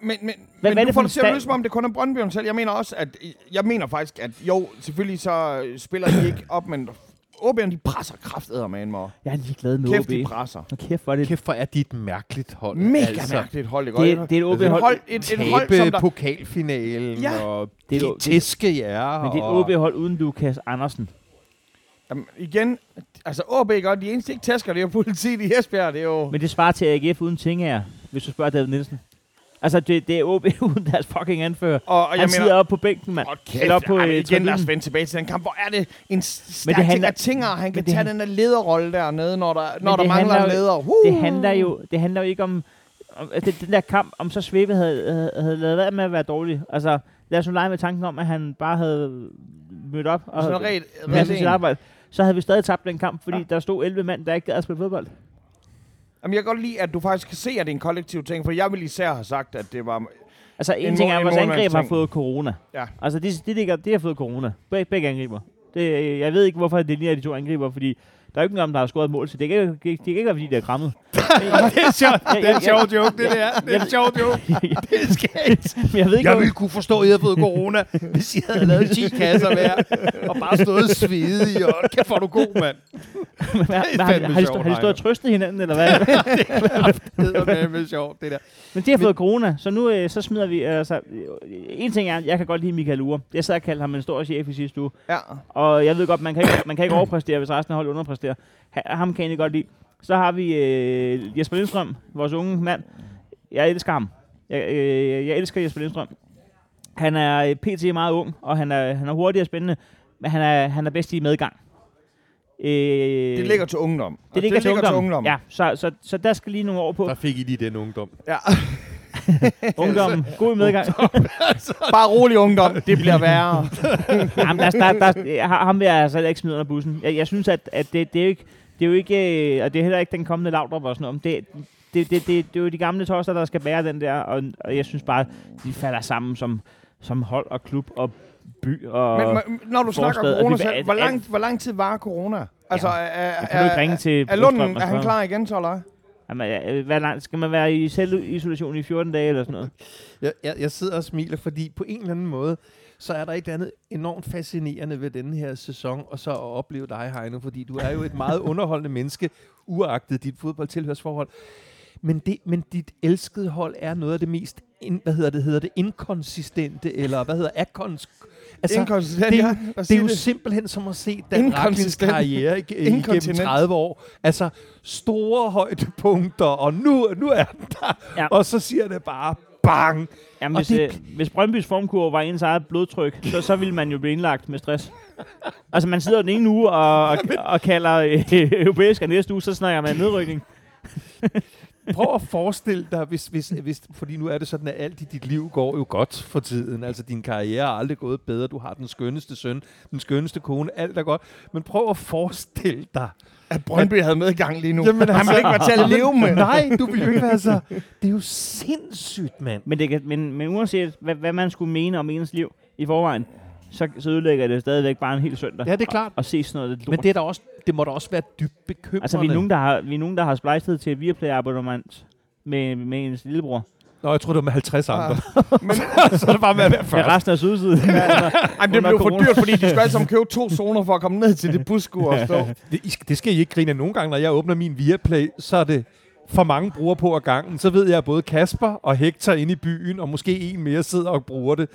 B: Men, men,
A: hvad
B: men
A: er
B: du
A: det
B: får
A: for
B: det
A: en
B: til at
A: stand?
B: lyde, som om det kun er Brøndby om selv. Jeg mener også, at... Jeg mener faktisk, at jo, selvfølgelig så øh, spiller de ikke op, men OB'erne, de presser kraftedet med en mor.
A: Jeg er lige glad med
B: Kæft, de
A: OB.
B: presser.
A: Og kæft for det.
C: Kæft, hvor er de et mærkeligt hold.
B: Mega
C: altså.
B: mærkeligt hold, ikke?
A: Det, det er et
B: et hold,
A: OB-hold,
B: et, et hold, som
C: Tabe
B: der...
C: pokalfinalen
B: Ja.
C: og
A: Det er
C: det
A: jo-
C: er, tæske jer.
A: men det er
C: og-
A: et OB-hold uden Lukas Andersen.
B: Jamen, igen, altså OB godt, de eneste ikke tæsker, det er jo politiet i Esbjerg, det er jo...
A: Men det svarer til AGF uden ting her, hvis du spørger David Nielsen. Altså, det, det er OB uden deres fucking anfører.
B: Og, og
A: Han sidder oppe på bænken, mand.
B: Åh,
A: Eller oppe på
B: Ej, men
A: øh,
B: igen, lad os
A: tribunen.
B: vende tilbage til den kamp. Hvor er det en stærk
A: det
B: det
A: handler-
B: handler, ting, at han kan
A: men det
B: tage
A: han-
B: den der lederrolle dernede, når der, når der
A: det
B: mangler en
A: handler jo-
B: leder. Uh!
A: det handler jo, det handler jo ikke om, om altså, det, den der kamp, om så Svebe havde, havde, havde lavet være med at være dårlig. Altså, lad os nu lege med tanken om, at han bare havde mødt op og
B: Sådan ret,
A: passet
B: ret
A: sit
B: en.
A: arbejde. Så havde vi stadig tabt den kamp, fordi
B: Ja.
A: ja. der stod 11 mand, der ikke gad at spille fodbold.
B: Jamen, jeg kan godt lide, at du faktisk kan se, at det er en kollektiv ting, for jeg ville især have sagt, at det var...
A: Altså, en,
B: En
A: en ting
B: mål-
A: er,
B: en
A: at vores angreb har
B: målmandsting.
A: fået corona.
B: Ja.
A: Altså, de, de, ligger, de har fået corona. Beg, begge angriber. Det, øh, jeg ved ikke, hvorfor det ligner de to angriber, fordi der er jo ikke nogen, der har scoret et mål, så det kan, det, det kan ikke være, fordi de er krammet.
B: det er sjovt.
A: Det er en sjov
B: joke, det der. Det er en sjov joke.
C: det skal
A: Men jeg ved ikke,
C: Jeg
A: hvor-
C: ville kunne forstå, at I havde fået corona, hvis I havde lavet 10 kasser hver, og bare stået og svedet i, og kæft, hvor er du god, mand.
A: men har,
C: Det er
A: har,
C: fandme
A: har, de
C: sjovt,
A: stå- har de
C: nej.
A: stået og trøstet hinanden, eller hvad?
C: Det er fandme sjovt, det der.
A: Men de har fået corona, så nu øh, så smider vi... Altså, øh, en ting er, jeg kan godt lide Michael Ure. Jeg sad og kaldte ham en stor chef i sidste uge.
B: Ja.
A: Og jeg ved godt, man kan ikke, man kan ikke overpræstere, hvis resten af holdet underpræsterer. Ha- ham kan jeg egentlig godt lide. Så har vi øh, Jesper Lindstrøm, vores unge mand. Jeg elsker ham. Jeg, øh, jeg elsker Jesper Lindstrøm. Han er øh, pt. meget ung, og han er, han er hurtig og spændende, men han er, han er bedst i medgang. Øh,
B: Det ligger til ungdom.
A: det ligger,
B: til ungdom.
A: Ja, så, så, så der skal lige nogle år på.
C: Der fik I lige den ungdom.
B: Ja.
A: Ungdommen, god medgang.
B: Bare rolig, ungdom. Det bliver værre.
A: Jamen, der, der, der, ham vil jeg altså heller ikke smide under bussen. Jeg, jeg synes, at, at det, det er jo ikke... Det er jo ikke, øh, og det er heller ikke den kommende Laudrup og sådan noget. men Det, det, det, det, det er jo de gamle toster, der skal bære den der, og, og jeg synes bare, de falder sammen som, som hold og klub og by. Og
B: Men, men når du snakker
A: forslaget, altså,
B: corona
A: at vi-
B: selv,
A: at-
B: hvor lang, hvor lang tid var corona? Altså, ja. er,
A: kan du ikke ringe til
B: er, er
A: Brostrøm altså. og
B: Lunden, er han
A: spørge?
B: klar igen, så eller? hvad?
A: Jamen, øh, hvad langt, skal man være i selvisolation i 14 dage eller sådan noget?
C: Jeg, jeg, jeg sidder og smiler, fordi på en eller anden måde, så er der et eller andet enormt fascinerende ved denne her sæson, og så at opleve dig, Heino, fordi du er jo et meget underholdende menneske, uagtet dit fodboldtilhørsforhold. Men, det, men dit elskede hold er noget af det mest, in, hvad hedder det, hedder det inkonsistente, eller hvad hedder akons... Altså,
B: Inkonsistent,
C: det er
B: ja.
C: jo-
B: Lad os
C: det
B: sige
C: er jo simpelthen som at se Dan Raklins
B: Inkonsistent.
C: karriere ig- igennem
B: Inkontinent.
C: 30 år. Altså, store højdepunkter, og nu, nu er den der.
A: Ja.
C: Ja. Og så siger det bare, bang!
A: Jamen,
C: Og
A: hvis,
C: det-
A: det... øh, hvis Brøndbys formkurve var ens eget blodtryk, så, så ville man jo blive indlagt med stress. Altså, man sidder den ene uge og, og, og kalder øh, europæisk, og næste uge, så snakker man nedrykning.
C: Prøv at forestille dig, hvis, hvis, hvis, fordi nu er det sådan, at alt i dit liv går jo godt for tiden. Altså, din karriere er aldrig gået bedre. Du har den skønneste søn, den skønneste kone, alt er godt. Men prøv at forestille dig.
B: At Brøndby havde med i gang lige nu.
C: Jamen,
B: han
C: altså-
B: ville ikke være til at leve med.
C: Nej, du vil jo ikke være så... Det er jo sindssygt, mand.
A: Men, det kan, men, men uanset, hvad, hvad man skulle mene om ens liv i forvejen, så, så ødelægger det stadigvæk bare en hel søndag.
C: Ja, det er klart.
A: Og se sådan noget lort.
C: Men det, er da også, det må da også være dybt bekymrende.
A: altså, vi er nogen, der har, vi er nogen, der har splejset til et Viaplay-abonnement med, med ens lillebror.
C: Nå, jeg tror, det var med 50 andre. Men så er det bare med at være
A: Med
C: 40.
A: resten af sydsiden.
B: Ej, men det
A: Under
B: blev for
A: corona.
B: dyrt, fordi de skulle alle sammen købe to zoner for at komme ned til det busskur og stå.
C: Det, I skal- det skal I ikke grine af nogen gange, når jeg åbner min Viaplay, så er det for mange brugere på ad gangen. Så ved jeg, at både Kasper og Hector inde i byen, og måske en mere sidder og bruger det.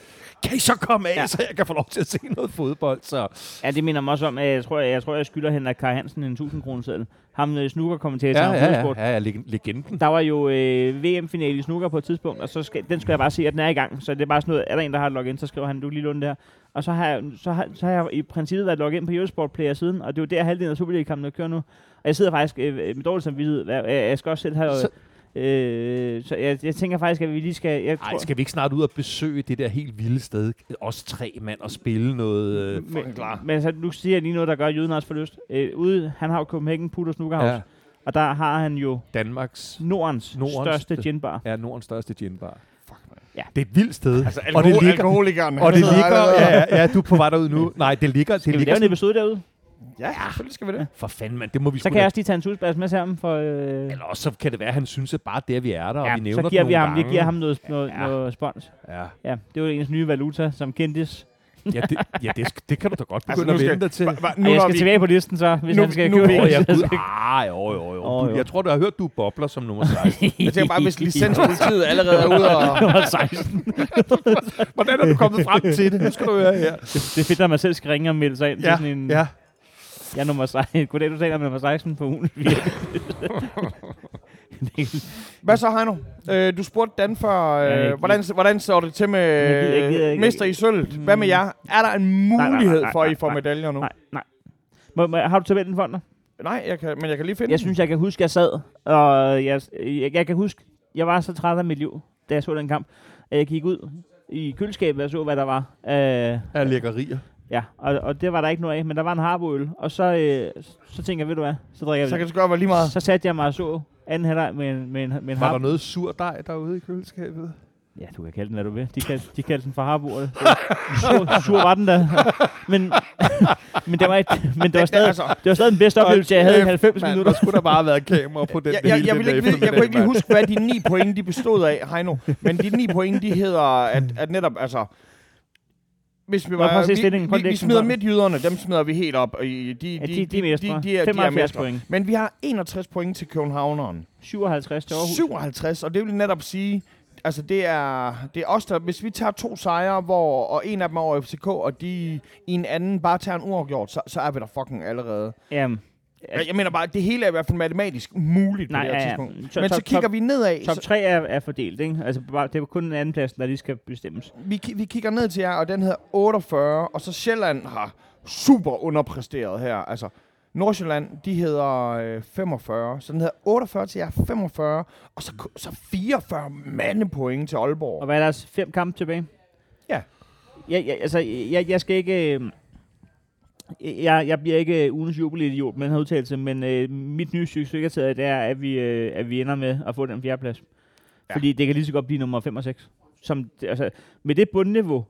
C: Kan I så komme af,
A: Ja.
C: ja. så jeg kan få lov til at se noget fodbold? Så.
A: Ja, det minder mig også om, at jeg tror, jeg, jeg, tror, jeg skylder Henrik Kaj Hansen en 1000 kroner seddel. Ham øh, snooker-kommentatoren. fra Eurosport.
C: ja, ja leg- legenden.
A: Der var jo øh, VM-finale i snooker på et tidspunkt, og så skal, den skal jeg bare se, at den er i gang. Så det er bare sådan noget, er der en, der har logget ind, så skriver han, du kan lige låne det her. Og så har, jeg, så, har, så har jeg i princippet været logget ind på Eurosport Player siden, og det er jo der halvdelen af Superliga-kampen, kører nu. Og jeg sidder faktisk øh, med dårlig samvittighed. Jeg, jeg, jeg skal også selv have...
C: Så-
A: Så, øh, så jeg, jeg, tænker faktisk, at vi lige skal... Jeg tror,
C: Ej, skal vi ikke snart ud og besøge det der helt vilde sted? Os tre mand og spille noget... Øh,
A: men, men så, nu siger jeg lige noget, der gør jøden også for lyst. Øh, ude, han har jo Copenhagen Putter Snookerhouse, ja.
C: ja,
A: og der har han jo
C: Danmarks...
A: Nordens, Nordens
C: Nordens-
A: største ginbar.
C: Ja, Nordens største ginbar.
B: Fuck, man.
A: Ja.
C: Det er et vildt sted. Altså,
B: Alkohol, og det ligger, alkoholikerne.
C: og det ligger... Ja, ja, ja, du er på vej derud nu. Nej, det ligger... Det
A: Skal vi lave en
C: ligger
A: episode derude?
B: ja, selvfølgelig skal vi det.
C: for fanden, mand. Det må vi
A: Så
C: sgu
A: kan
C: da
A: jeg også lige tage en susbas med sammen for... Øh,
C: Eller også så kan det være, at han synes, at bare det, at vi er der, og vi nævner
A: så giver
C: den
A: vi
C: nogle
A: ham, vi
C: gange.
A: giver ham noget, noget, ja.
C: Ja.
A: noget spons.
C: Ja,
A: Ja, det var ens nye valuta, som kendtis.
C: ja, det, ja det, sk- det kan du da godt
B: Altså,
C: begynde
B: nu skal-
C: altså, at vende dig til.
B: Hva- hva-
A: Nu, jeg
B: når
A: skal vi...
B: vi-
A: tilbage på listen så, hvis
B: Nu-
A: nu, han skal
B: nu-
A: købe
B: nu-
A: en.
C: Åh, jeg,
A: Så
C: gud,
A: skal-
C: ah, jo, jo, jo.
A: Åh,
C: Oh,
A: jo.
C: jo. Jeg tror, du har hørt, du er bobler som nummer 16.
B: Jeg tænker bare, hvis licenspolitiet allerede er ude og...
A: Nummer 16.
C: Hvordan er du kommet frem til det? Nu skal du høre her.
A: Det er fedt, at man selv skal ringe og melde sig ind ja. til sådan en... Ja.
C: Mm. ja.
A: Jeg er nummer 16. Goddag, du taler med nummer 16 på ugen.
B: Hvad så, Heino? Øh, du spurgte Dan før,
A: jeg
B: øh,
A: gider-
B: hvordan, hvordan så det til med
A: Jeg gider- jeg gider
B: øh,
A: ikke-
B: mester i sølvet? Hvad med jer? Er der en
A: nej, nej,
B: mulighed
A: nej,
B: for, at I
A: nej,
B: får
A: nej.
B: medaljer nu?
A: Nej, nej. Må, må, har du tabellen for dig?
B: Nej, jeg kan, men jeg kan lige finde
A: Jeg synes, jeg kan huske, jeg sad, og jeg, jeg, jeg kan huske, jeg var så træt af mit liv, da jeg så den kamp, at jeg gik ud i køleskabet og så, hvad der var. Øh,
C: Af lækkerier.
A: Ja, og, og det var der ikke noget af, men der var en harboøl, og så, øh, så tænkte jeg, ved du hvad, så drikker
B: den. Så
A: jeg
B: kan
A: det.
B: det godt være lige meget.
A: Så satte jeg mig og så anden halvleg med en, med en, med en
C: Var der
A: harbo.
C: noget sur dej derude i køleskabet?
A: Ja, du kan kalde den, hvad du vil. De kaldte, de kaldte den for harboøl. Sur, sur var den da. Men, men, det var, et, men det, var stadig,
B: altså.
A: det var stadig den bedste oplevelse, jeg havde i
C: Kæft,
A: 90
C: mand,
A: minutter.
C: Der skulle der bare have været kamera på den
B: Jeg, jeg,
C: hele
B: jeg,
C: den
B: vil
C: der
B: ikke vide, jeg kunne ikke lige
C: eftermiddag,
B: huske, hvad de ni point, de bestod af, Heino. Men de ni point, de hedder, at, at netop, altså... Hvis vi,
A: Nå, prøv
B: var,
A: at se
B: vi,
A: stillingen. Prøv
B: vi,
A: lige
B: vi
A: at
B: smider
A: komme frem.
B: midtjyderne, dem smider vi helt op. Og i- de,
A: Ja, de, de er
B: de,
A: mestre.
B: de, er, de er
A: 75
B: mestre.
A: point.
B: Men vi har 61 point til københavneren.
A: 57 til Aarhus.
B: 57, og det vil netop sige, altså det er, det er os, der, hvis vi tager to sejre, hvor, og en af dem er over FCK, og de i en anden bare tager en uafgjort, så, så er vi der fucking allerede.
A: Jamen,
B: Jeg, jeg mener bare, det hele er i hvert fald matematisk muligt
A: Nej,
B: på det her
A: ja, ja.
B: tidspunkt.
A: Så-
B: Men
A: top-
B: så kigger
A: top-
B: vi nedad,
A: top
B: så,
A: 3 er, er fordelt, ikke? Altså, bare- det er kun en anden plads, der lige skal bestemmes.
B: vi, ki- vi kigger ned til jer, og den hedder 48, og så Sjælland har super underpresteret her, altså. Nordsjælland, de hedder øh, 45, så den hedder 48 til jer, 45, og så, ku- så 44 mandepoint til Aalborg.
A: Og hvad er deres fem kampe tilbage?
B: Ja.
A: Jeg, jeg, altså, jeg, jeg skal ikke... øh, Jeg, jeg bliver ikke øh, ugens jubelidiot med den her udtalelse, men øh, mit nye succeskriterie, det er, at vi, øh, at vi ender med at få den fjerdeplads. Ja. Fordi det kan lige så godt blive nummer 5 og 6. Som, det- altså, med det bundniveau,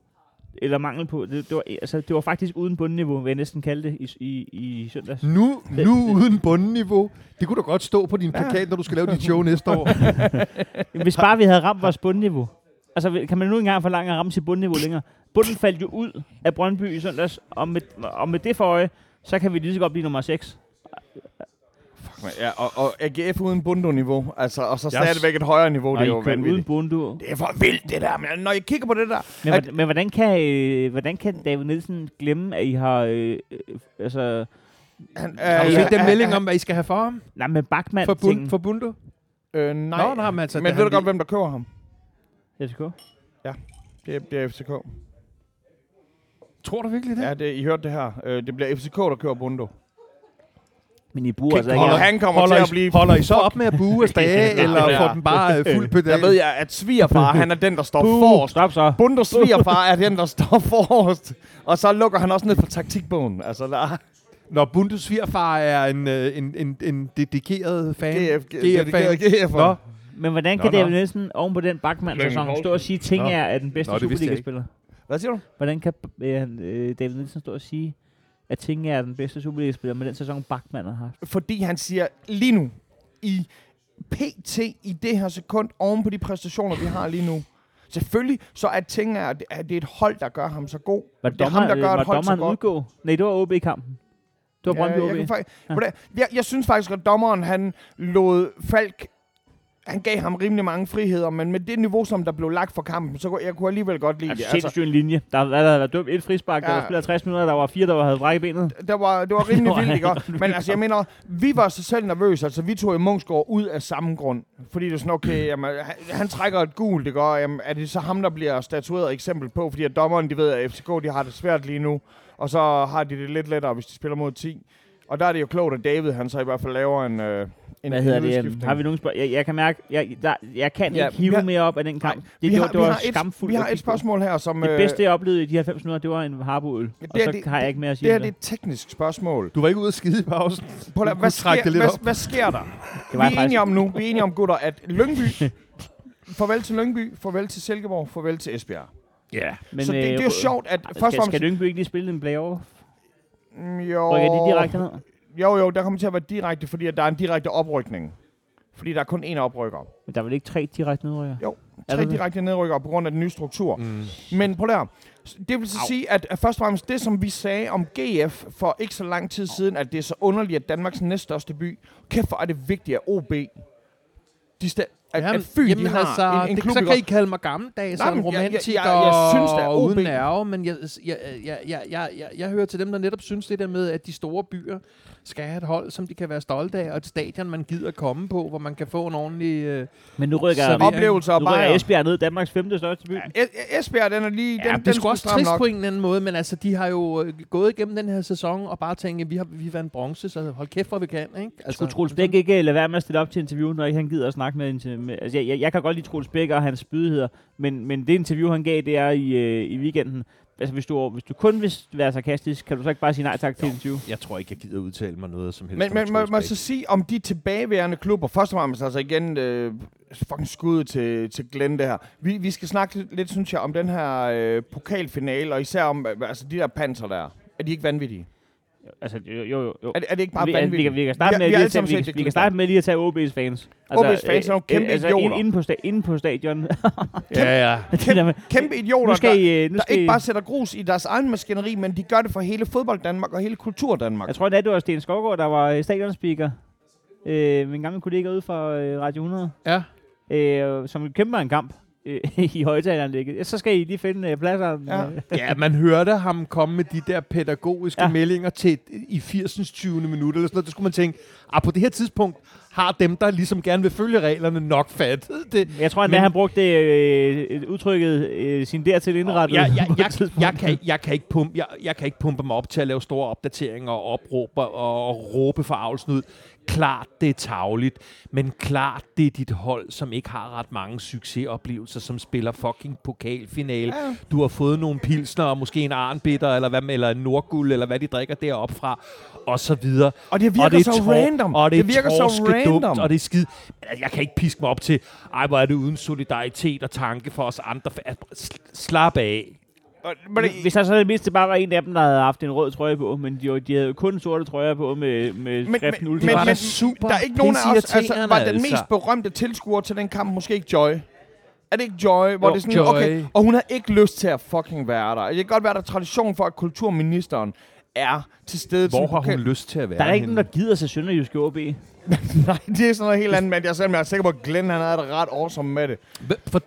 A: eller mangel på, det, det, var, altså, det var faktisk uden bundniveau, vil jeg næsten kalde det, i, i, i søndags.
C: Nu, nu uden bundniveau. Det kunne da godt stå på din plakat, når du skal lave dit show næste år.
A: Hvis bare vi havde ramt vores bundniveau. Altså, kan man nu ikke engang forlange at ramme sit bundniveau længere? Bunden faldt jo ud af Brøndby i søndags, og med, og med det for øje, så kan vi lige så godt blive nummer 6.
B: Ja, og, og AGF uden bundo-niveau, altså, og så
C: Jeg s-
B: stadigvæk et højere niveau, det er jo
A: uden
B: vanvittigt.
A: bundu.
B: Det er for vildt, det der, men når jeg kigger på det der,
A: Men,
B: at-
A: hvordan, men hvordan, kan, øh, hvordan kan David Nielsen glemme, at I har... Øh, øh, altså,
B: Han,
C: Har du
B: øh,
C: set den
B: han-
C: melding om, hvad I skal have for ham?
A: nej, men Bachmann
C: For, bund,
A: tingen.
C: for Bundo?
B: Øh, nej,
C: Nå, nej, men altså,
B: men
C: da
B: ved
C: han
B: du godt,
C: lige-
B: hvem der køber ham?
A: FCK.
B: Det er, det er FCK.
C: Tror du virkelig det?
B: Ja, det, I hørte det her. Øh, det bliver FCK, der køber Bundo.
A: Men I bruger altså ikke...
B: Og han kommer
C: holder
B: til
C: I,
B: at blive...
C: Holder I så op med at bue af stage, eller
B: Ja.
C: får den bare øh, fuld pedal?
B: Der ved jeg, at svigerfar, han er den, der står forrest.
A: Stop så.
B: Bundo svigerfar er den, der står forrest. Og så lukker han også ned på taktikbogen. Altså, der er
C: Når Bundes svigerfar er en, øh, en, en, en dedikeret fan.
B: GF,
C: GF fan.
B: GF.
C: Nå,
A: Men hvordan
C: Nå,
A: kan
C: nå.
A: David Nielsen oven på den Bachmann-sæson stå og sige, at ting
C: Nå.
A: er, er den bedste
C: Nå, det vidste jeg ikke.
A: Superliga-spiller?
B: Hvad siger du?
A: Hvordan kan øh, øh, David Nielsen stå og sige, at Tinge er den bedste Superliga-spiller med den sæson, Bachmann har haft?
B: Fordi han siger, lige nu, i pt. i det her sekund, oven på de præstationer, vi har lige nu. Selvfølgelig, så er ting, at at det er et hold, der gør ham så god.
A: Var
B: Det er ham, der gør et
A: var
B: hold så
A: dommeren
B: godt.
A: udgå? Nej, det var OB-kampen. Det var
B: Ja,
A: Brøndby
B: jeg,
A: OB.
B: kan faktisk,
A: Ja.
B: ja. jeg, jeg synes faktisk, at dommeren han lod Falk... Han gav ham rimelig mange friheder, men med det niveau, som der blev lagt for kampen, så kunne jeg kunne alligevel godt lide
A: Altså,
B: det.
A: sindssygt en linje. Der havde der havde været dømt et frispark, ja. der
B: Ja.
A: var spillet 60 minutter, der var fire, der havde brækket benet.
B: der var, det var rimelig
A: Det var
B: vildt, ikke?
A: helt
B: også? Men altså, jeg mener, vi var så selv nervøse. Altså, vi tog i Mungsgaard ud af samme grund. Fordi det er sådan, okay, jamen, han, han trækker et gult, ikke? Og, jamen, er det så ham, der bliver statueret eksempel på? Fordi at dommeren, de ved, at FCK, de har det svært lige nu. Og så har de det lidt lettere, hvis de spiller mod 10. Og der er det jo klogt, at David, han så i hvert fald laver en, øh, en
A: Hvad hedder
B: en
A: det? øhm,
B: udskiftning.
A: Har vi nogen spørgsmål? Jeg, jeg, kan mærke, jeg, der, jeg kan
B: Ja,
A: ikke
B: vi
A: hive
B: har-
A: mere op af den kamp. det,
B: vi
A: det,
B: har,
A: var, det
B: vi
A: var
B: har
A: skamfuldt.
B: Et, vi
A: at
B: har et
A: kigge på.
B: spørgsmål her, som...
A: Det
B: øh,
A: bedste, jeg oplevede i de 90 minutter, det var en harboøl.
B: Ja,
A: Og
B: det er
A: så
B: det-
A: har jeg ikke mere at
B: det
A: sige
B: her
A: om
B: det er
A: det.
B: et teknisk spørgsmål.
C: du var ikke ude at skide i pausen.
B: Prøv at,
C: Du
B: lade- hvad,
C: kunne trække
B: sker,
C: det lidt
B: hvad,
C: op.
B: hvad sker der?
A: Det
B: Vi
A: var
B: er
A: faktisk
B: enige om nu, vi er enige om, gutter, at Lyngby... farvel til Lyngby, farvel til Silkeborg, farvel til Esbjerg.
C: Ja.
B: Men, så det, det er jo sjovt,
A: øh,
B: at
A: altså, Skal,
B: først og
A: skal,
B: fremmest...
A: Lyngby ikke lige spille en playoff?
B: Mm, Jo,
A: Rykker de direkte ned?
B: jo, jo, der kommer til at være direkte, fordi at der er en direkte oprykning. Fordi der er kun én oprykker.
A: Men der er vel ikke tre direkte nedrykker?
B: Jo,
A: Er
B: tre
A: der det?
B: direkte nedrykker på grund af den nye struktur. Mm. Men prøv der. Det vil så sige, at at først og fremmest det, som vi sagde om GF for ikke så lang tid siden, at det er så underligt, at Danmarks næststørste by, kæft hvor er det vigtigt, at OB, de sta- at, at Fyn, de har altså, en, en
C: det,
B: klub,
C: så
B: ikke
C: kan I kalde mig gammeldags
B: Nej,
C: og en
B: men jeg- jeg-
C: romantiker
B: jeg- jeg synes da,
C: og uden
B: OB
C: nerve, men jeg, jeg, jeg, jeg, jeg, jeg, jeg hører til dem, der netop synes det der med, at de store byer skal have et hold, som de kan være stolte af, og et stadion, man gider komme på, hvor man kan få en ordentlig... Øh,
A: Men nu rykker,
C: Så
A: så
C: vi-
B: oplevelser og
A: nu rykker
B: bare...
A: Esbjerg ned, Danmarks femte største by.
B: Es- Esbjerg, den er lige...
C: ja,
B: den,
C: den, det
B: den
C: er sgu også
B: stramme
C: trist
B: nok.
C: på en eller anden måde, men altså, de har jo øh, gået igennem den her sæson og bare tænkt, vi har vi vandt bronze, så hold kæft, hvor vi kan, ikke? Altså,
A: Skulle Troels Bæk ikke øh, lade være med at stille op til interview, når ikke han gider at snakke med, interv- med altså jeg, jeg, jeg kan godt lide Troels Bæk og hans spydigheder, men, men det interview, han gav, det er i, øh, i weekenden. Altså, hvis du, hvis du kun vil være sarkastisk, kan du så ikke bare sige nej tak til interview?
C: Jeg tror ikke, jeg gider udtale mig noget som helst.
B: Men, men må, må jeg så sige, om de tilbageværende klubber, først og fremmest altså igen, øh, fucking skud til, til Glenn det her. Vi, vi skal snakke lidt, lidt, synes jeg, om den her øh, pokalfinale, og især om øh, altså, de der panser der. Er de ikke vanvittige?
A: Altså, jo, jo, jo. jo.
B: Er, det- er det ikke bare
A: vi, altså, vi,
B: vanvittigt?
A: kan, vi, kan starte
B: Vi-
A: med lige at
B: vi har alle
A: tage,
B: sammen
A: vi, kan-
B: set det
A: vi kan
B: klip.
A: starte med lige at tage OB's fans.
B: OB's fans er nogle kæmpe
A: altså,
B: idioter.
A: Inde på, sta- inde på stadion.
C: Ja, ja.
A: Det der med-
B: Kæmpe idioter,
A: nu skal
B: der,
A: I, øh, nu
B: der
A: skal
B: ikke
A: I,
B: bare sætter grus i deres egen maskineri, men de gør det for hele fodbold Danmark og hele kultur Danmark.
A: Jeg tror, det er, det var Sten Skovgaard, der var øh, stadionspeaker. Øh, min gamle kollega ude fra øh, Radio 100.
C: ja.
A: øh, som kæmper en kamp øh, i højtaleranlægget, så skal I lige finde øh, pladser.
B: Ja.
A: Øh,
C: Ja, man hørte ham komme med de der pædagogiske
A: Ja.
C: ja. meldinger til i 80'ens 20. minut, eller sådan noget. Det skulle man tænke, ah, på det her tidspunkt har dem, der ligesom gerne vil følge reglerne, nok fat. Det,
A: Jeg tror, at
C: Men-
A: han brugte øh, udtrykket øh, sin dertil indrettet.
C: jeg, jeg,
A: på et
C: jeg, jeg,
A: tidspunkt.
C: jeg, kan, jeg, kan ikke pumpe, jeg, jeg kan ikke pumpe mig op til at lave store opdateringer og opråber og, og råbe for avlsnyd. Klart, det er tavligt, men klart, det er dit hold, som ikke har ret mange succesoplevelser, som spiller fucking pokalfinale. Ja. Du har fået nogle pilsner og måske en arnbitter, eller, hvad, eller en nordguld, eller hvad de drikker deroppe fra, og så videre.
B: Og det virker
C: er
B: så random.
C: Og det,
B: Det virker så
C: så random.
B: random.
C: Dumt, og det er skid. Altså, Jeg kan ikke piske mig op til, ej, hvor er det uden solidaritet og tanke for os andre. Altså, sl- Slap af.
B: Men det,
A: Hvis der så i det mindste bare var en af dem, der havde haft en rød trøje på, men de, var- de havde jo kun sorte trøjer på med, med
B: men,
A: skriften
B: men,
A: Ultra.
B: men,
C: var da
B: men
C: super
B: der er ikke nogen af os, altså,
C: pisseirriterende,
B: var den
C: altså.
B: mest berømte tilskuer til den kamp måske ikke Joy? Er det ikke Joy? Hvor
C: Jo,
B: det er sådan,
C: Joy.
B: okay, og hun har ikke lyst til at fucking være der. Det kan godt være, der er tradition for, at kulturministeren er til stede. til
C: Hvor
B: sådan en
C: har hun
B: pokal-
C: lyst til at være
A: der er ikke
C: henne?
A: nogen, der gider sig Sønderjysk i OB.
B: Nej, det er sådan noget helt andet, men jeg, selv, jeg er sikker på, at Glenn han havde det ret awesome med det.
C: Hva- For,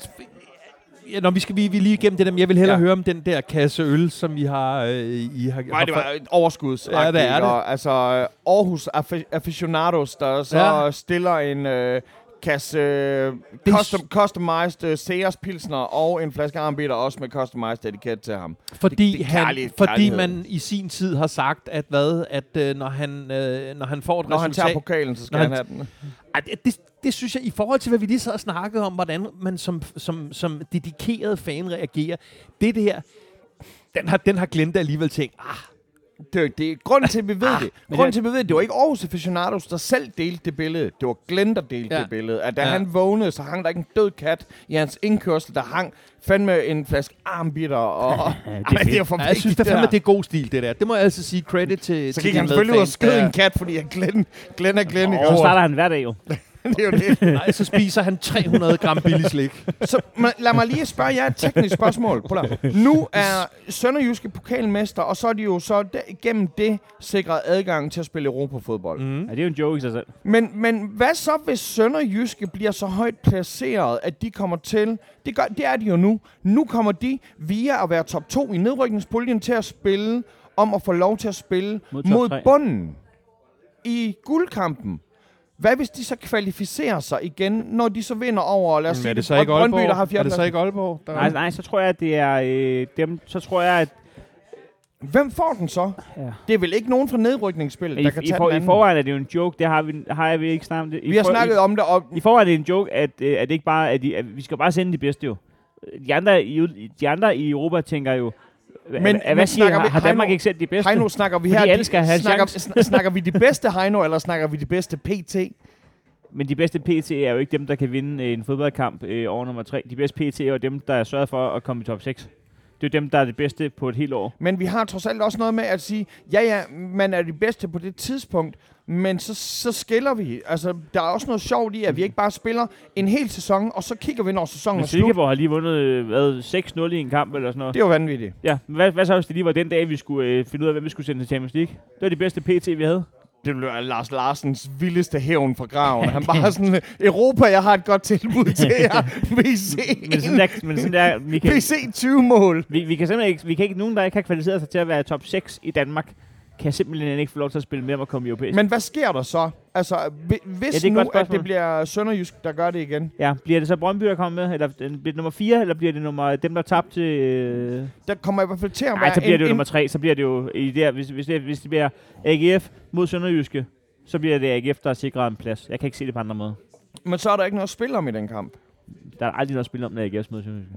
C: ja, når vi skal vi, vi er lige igennem det der, men jeg vil hellere
B: Ja.
C: ja. høre om den der kasse øl, som vi har... Øh, I har
B: Nej, det var et overskuds.
C: Ja, det er det.
B: Og, altså, øh, Aarhus Affi- Aficionados, der så
C: Ja.
B: ja. stiller en øh, kasse øh,
C: Det er
B: custom, customized øh, Sears Pilsner og en flaske armbitter, også med customized etiket til ham.
C: fordi,
B: det- det er
C: han,
B: kærlig-
C: fordi
B: kærlighed.
C: man i sin tid har sagt, at hvad, at øh, når, han, øh, når han får et
B: Når han
C: resultat...
B: tager pokalen, så skal
C: Når
B: han
C: han
B: have den.
C: Ej, det, det, det synes jeg, i forhold til, hvad vi lige sad og snakkede om, hvordan man som, som, som dedikeret fan reagerer, det der, den har, den har Glenda alligevel tænkt, ah,
B: Det, er- det er grunden til, at vi ved det. Grunden til, at vi ved det, det var ikke Aarhus Aficionados, der selv delte det billede. Det var Glenn, der delte
C: Ja.
B: det billede. At da
C: Ja.
B: han vågnede, så hang der ikke en død kat i hans indkørsel. Der hang fandme en flaske armbitter. Og, ja, det, er det er for
C: ja, jeg synes da
B: vigtigt,
C: fandme,
B: der.
C: det er god stil, det der. Det må jeg altså sige credit til
B: Så
C: til
B: gik
C: de
B: han selvfølgelig ud og
C: medfans,
B: skød
C: der-
B: en kat, fordi jeg Glenn, Glenn er Glenn.
A: Så
B: Oh.
A: starter han hver dag jo.
B: Det er jo det.
C: Nej, så spiser han 300 gram billig slik.
B: Så men lad mig lige spørge jer et teknisk spørgsmål. Prøv lige at- Nu er Sønderjyske pokalmester, og så er de jo så der, igennem det sikret adgang til at spille Europa-fodbold. Mm.
A: Ja, det er jo en joke i sig selv.
B: Men, men hvad så, hvis Sønderjyske bliver så højt placeret, at de kommer til... Det, gør, det er de jo nu. Nu kommer de via at være top 2 i nedrykningspuljen til at spille om at få lov til at spille
A: Mod
B: mod,
A: top
B: mod
A: tre.
B: bunden i guldkampen. Hvad hvis de så kvalificerer sig igen, når de så vinder over, lad os sige,
C: er det så ikke
B: Brønd- Brøndby,
C: Aalborg?
B: der har
C: er det så
B: fjerdepladsen?
C: ikke Aalborg? Der
A: Nej, nej, så tror jeg, at det er øh, dem. Så tror jeg, at
B: Hvem får den så?
A: Ja.
B: Det er vel ikke nogen fra nedrykningsspillet,
A: i,
B: der kan
A: i,
B: tage
A: for,
B: den
A: i
B: anden.
A: forvejen er det jo en joke. Det har vi, har jeg, vi ikke snakket om det. I
B: Vi har
A: for-
B: snakket om det, og
A: I, i forvejen er det en joke, at, øh, at det ikke bare at, de, at vi skal bare sende de bedste jo. De andre i, ud- de andre i Europa tænker jo, men,
B: Men-
A: at, hvad
B: men
A: siger
B: snakker
A: har,
B: vi-
A: har Danmark
B: Heino-
A: ikke sendt de bedste?
B: Heino, snakker vi
A: Fordi
B: her...
A: alle skal have en
B: snakker,
A: chance.
B: sn- snakker vi de bedste Heino, eller snakker vi de bedste PT?
A: Men de bedste PT er jo ikke dem, der kan vinde øh, en fodboldkamp øh, over nummer 3. De bedste PT er jo dem, der er sørget for at komme i top 6. Det er jo dem, der er det bedste på et helt år.
B: Men vi har trods alt også noget med at sige, ja ja, man er de bedste på det tidspunkt, men så, så skiller vi. Altså, der er også noget sjovt i, at vi ikke bare spiller en hel sæson, og så kigger vi, når sæsonen
A: Men
B: er slut.
A: Silkeborg har lige vundet øh, hvad, 6-0 i en kamp eller sådan noget.
B: Det er jo vanvittigt.
A: Ja, hvad, hvad så hvis det lige var den dag, vi skulle øh, finde ud af, hvem vi skulle sende til Champions League? Det var de bedste PT, vi havde.
B: Det blev Lars Larsens vildeste hævn fra graven. Han bare sådan, Europa, jeg har et godt tilbud til jer. VC,
A: Men sådan der, men sådan der vi, kan,
B: VC 20-mål.
A: vi, vi kan simpelthen ikke, vi kan ikke, nogen der ikke har kvalificeret sig til at være top 6 i Danmark, kan simpelthen ikke få lov til at spille med om at komme i europæisk. Men,
B: Men hvad sker der så? Altså, hvi-
A: Ja,
B: hvis
A: det er
B: ja,
A: et
B: nu,
A: godt
B: at det
A: spørgsmål.
B: bliver Sønderjysk, der gør det igen.
A: ja, bliver det så Brøndby, der kommer med? Eller den- bliver det nummer 4, eller bliver det nummer, dem, der tabte til... Øh...
B: Der kommer i hvert fald til at være
A: Nej, så bliver
B: en,
A: det jo
B: en,
A: nummer 3, så bliver det jo i der, hvis, hvis, det, hvis det bliver AGF mod Sønderjyske, så bliver det AGF, der sikrer en plads. Jeg kan ikke se det på andre måder.
B: Men så er der ikke noget at spille om i den kamp.
A: Der er aldrig noget at spille om, når AGF mod Sønderjyske.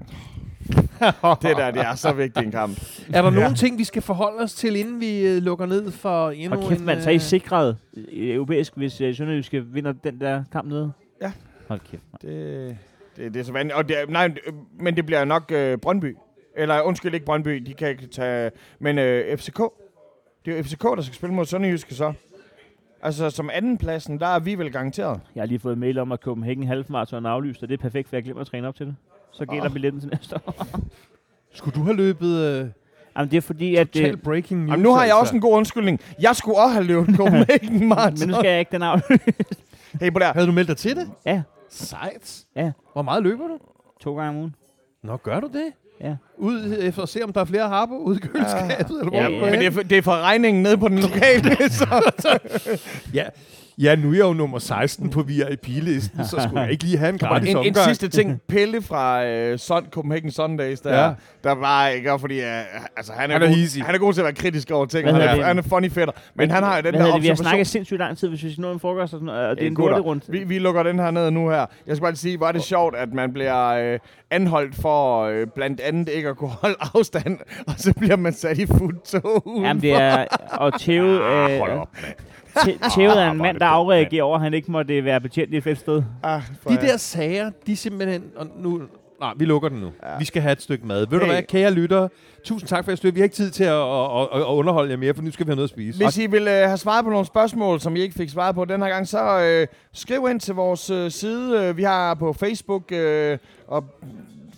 B: Det der, det er så vigtig en kamp.
C: Er der nogle ting, vi skal forholde os til, inden vi øh, lukker ned for endnu
A: Og kæft
C: en...
A: mand, så er I
C: øh,
A: sikret øh, europæisk, hvis øh, Sønderjyske vinder den der kamp nede?
B: Ja.
A: Hold kæft, mand.
B: Det, det, det er så vanligt. Og det, er- nej, øh, men det bliver nok øh, Brøndby. Eller undskyld, ikke Brøndby, de kan ikke tage... Men øh, FCK. Det er jo FCK, der skal spille mod Sønderjyske så. Altså, som andenpladsen, der er vi vel garanteret.
A: Jeg har lige fået mail om, at Copenhagen Halfmarathon er aflyst, og det er perfekt, for jeg glemmer at træne op til det. Så gælder
B: Åh.
A: billetten til næste år.
C: Skulle du have løbet øh,
A: Jamen, det er fordi, at...
C: total
A: Øh,
C: breaking news?
B: Jamen, nu har jeg
C: altså?
B: også en god undskyldning. Jeg skulle også have løbet Copenhagen
A: men nu
B: Marathon.
A: skal jeg ikke den aflyst.
B: Hey, på der.
C: Havde du meldt dig til det?
A: Ja.
C: Sejt.
A: Ja.
C: Hvor meget løber du?
A: To gange om ugen.
C: Nå, gør du det?
A: Ja.
C: Ud øh, for at se, om der er flere harper ude i køleskabet, ja. eller hvor
A: Ja,
C: du
A: ja.
C: går
B: Men
C: hen.
B: det er, for, det er for regningen nede på den lokale, så...
C: Ja, ja, nu er jeg jo nummer 16 på VIP-listen, så skulle jeg ikke lige have en gratis
A: ligesom
B: en, en
C: omgang.
B: sidste ting. Pelle fra øh, Sun, Copenhagen Sundays, der,
C: Ja.
B: ja. der var ikke, fordi øh, altså, han, er
C: Han er
B: god,
C: hisig.
B: han er god til at være kritisk over ting.
A: Hvad
B: Han
A: hedder
B: er,
A: det?
B: han er funny fætter. Men han har jo den
A: Hvad
B: der
A: hedder det? Vi har
B: observation.
A: snakket sindssygt lang tid, hvis vi skal nå en frokost, og, sådan, noget, og det er en
B: gutter,
A: lorte rundt.
B: Vi, vi lukker den her ned nu her. Jeg skal bare lige sige, hvor er det sjovt, at man bliver øh, anholdt for øh, blandt andet ikke at kunne holde afstand, og så bliver man sat i fuldt tog.
A: Jamen, det er... Og tævet, øh,
D: Hold op, mand.
A: tæ- tævet er
D: Ah,
A: en
D: hvor er
A: mand,
D: det
A: der
D: dumt,
A: afreagerer over, at han ikke måtte øh, være betjent i et fedt sted.
B: Ah, for
C: De
B: ja.
C: der sager, de er simpelthen... Og nu, nej, vi lukker den nu. Ja. Vi skal have et stykke mad. Ved du
B: Hey.
C: hvad, kære lyttere, tusind tak for jeres støtte. Vi har ikke tid til at, at, at, at underholde jer mere, for nu skal vi have noget at spise.
B: Hvis I vil øh, have svaret på nogle spørgsmål, som I ikke fik svaret på den her gang, så øh, skriv ind til vores øh, side. Øh, Vi har på Facebook, øh, og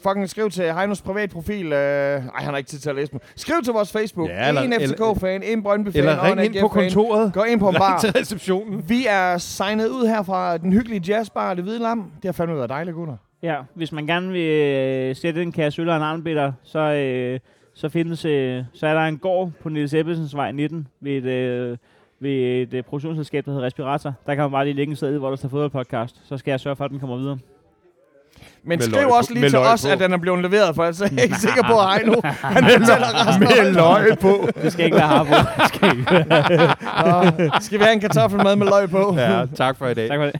B: fucking skriv til Heinos privatprofil. Øh, ej, han har ikke tid til at læse dem. Skriv til vores Facebook.
C: Ja,
B: Ja,
C: eller-
B: eller, en FCK-fan, en Brøndby-fan,
C: eller
B: og en
C: ring ind på
B: AGF-fan.
C: kontoret.
B: Gå ind på en
C: Ring
B: bar.
C: til receptionen.
B: Vi er signet ud her fra den hyggelige jazzbar, Det Hvide Lam. Det har fandme været dejligt, Gunnar.
A: Ja, hvis man gerne vil øh, sætte en kasse øl og en armbitter, så, øh, så, findes, øh, så er der en gård på Niels Ebbesens vej 19 ved et, øh, ved et øh, produktionsselskab, der hedder Respirator. Der kan man bare lige lægge en sted, hvor der står fodboldpodcast. Så skal jeg sørge for, at den kommer videre.
B: Men
C: Med
B: skriv
C: løg på-
B: også lige
C: med
B: til
C: løg
B: os,
C: på.
B: at den er blevet leveret, for altså, jeg er ikke sikker på, at Heino, han fortæller resten
C: Med løg på.
A: Det skal ikke være harbo.
B: Nå, Skal vi have en kartoffelmad med løg på?
C: Ja, tak for i dag.
A: tak for det.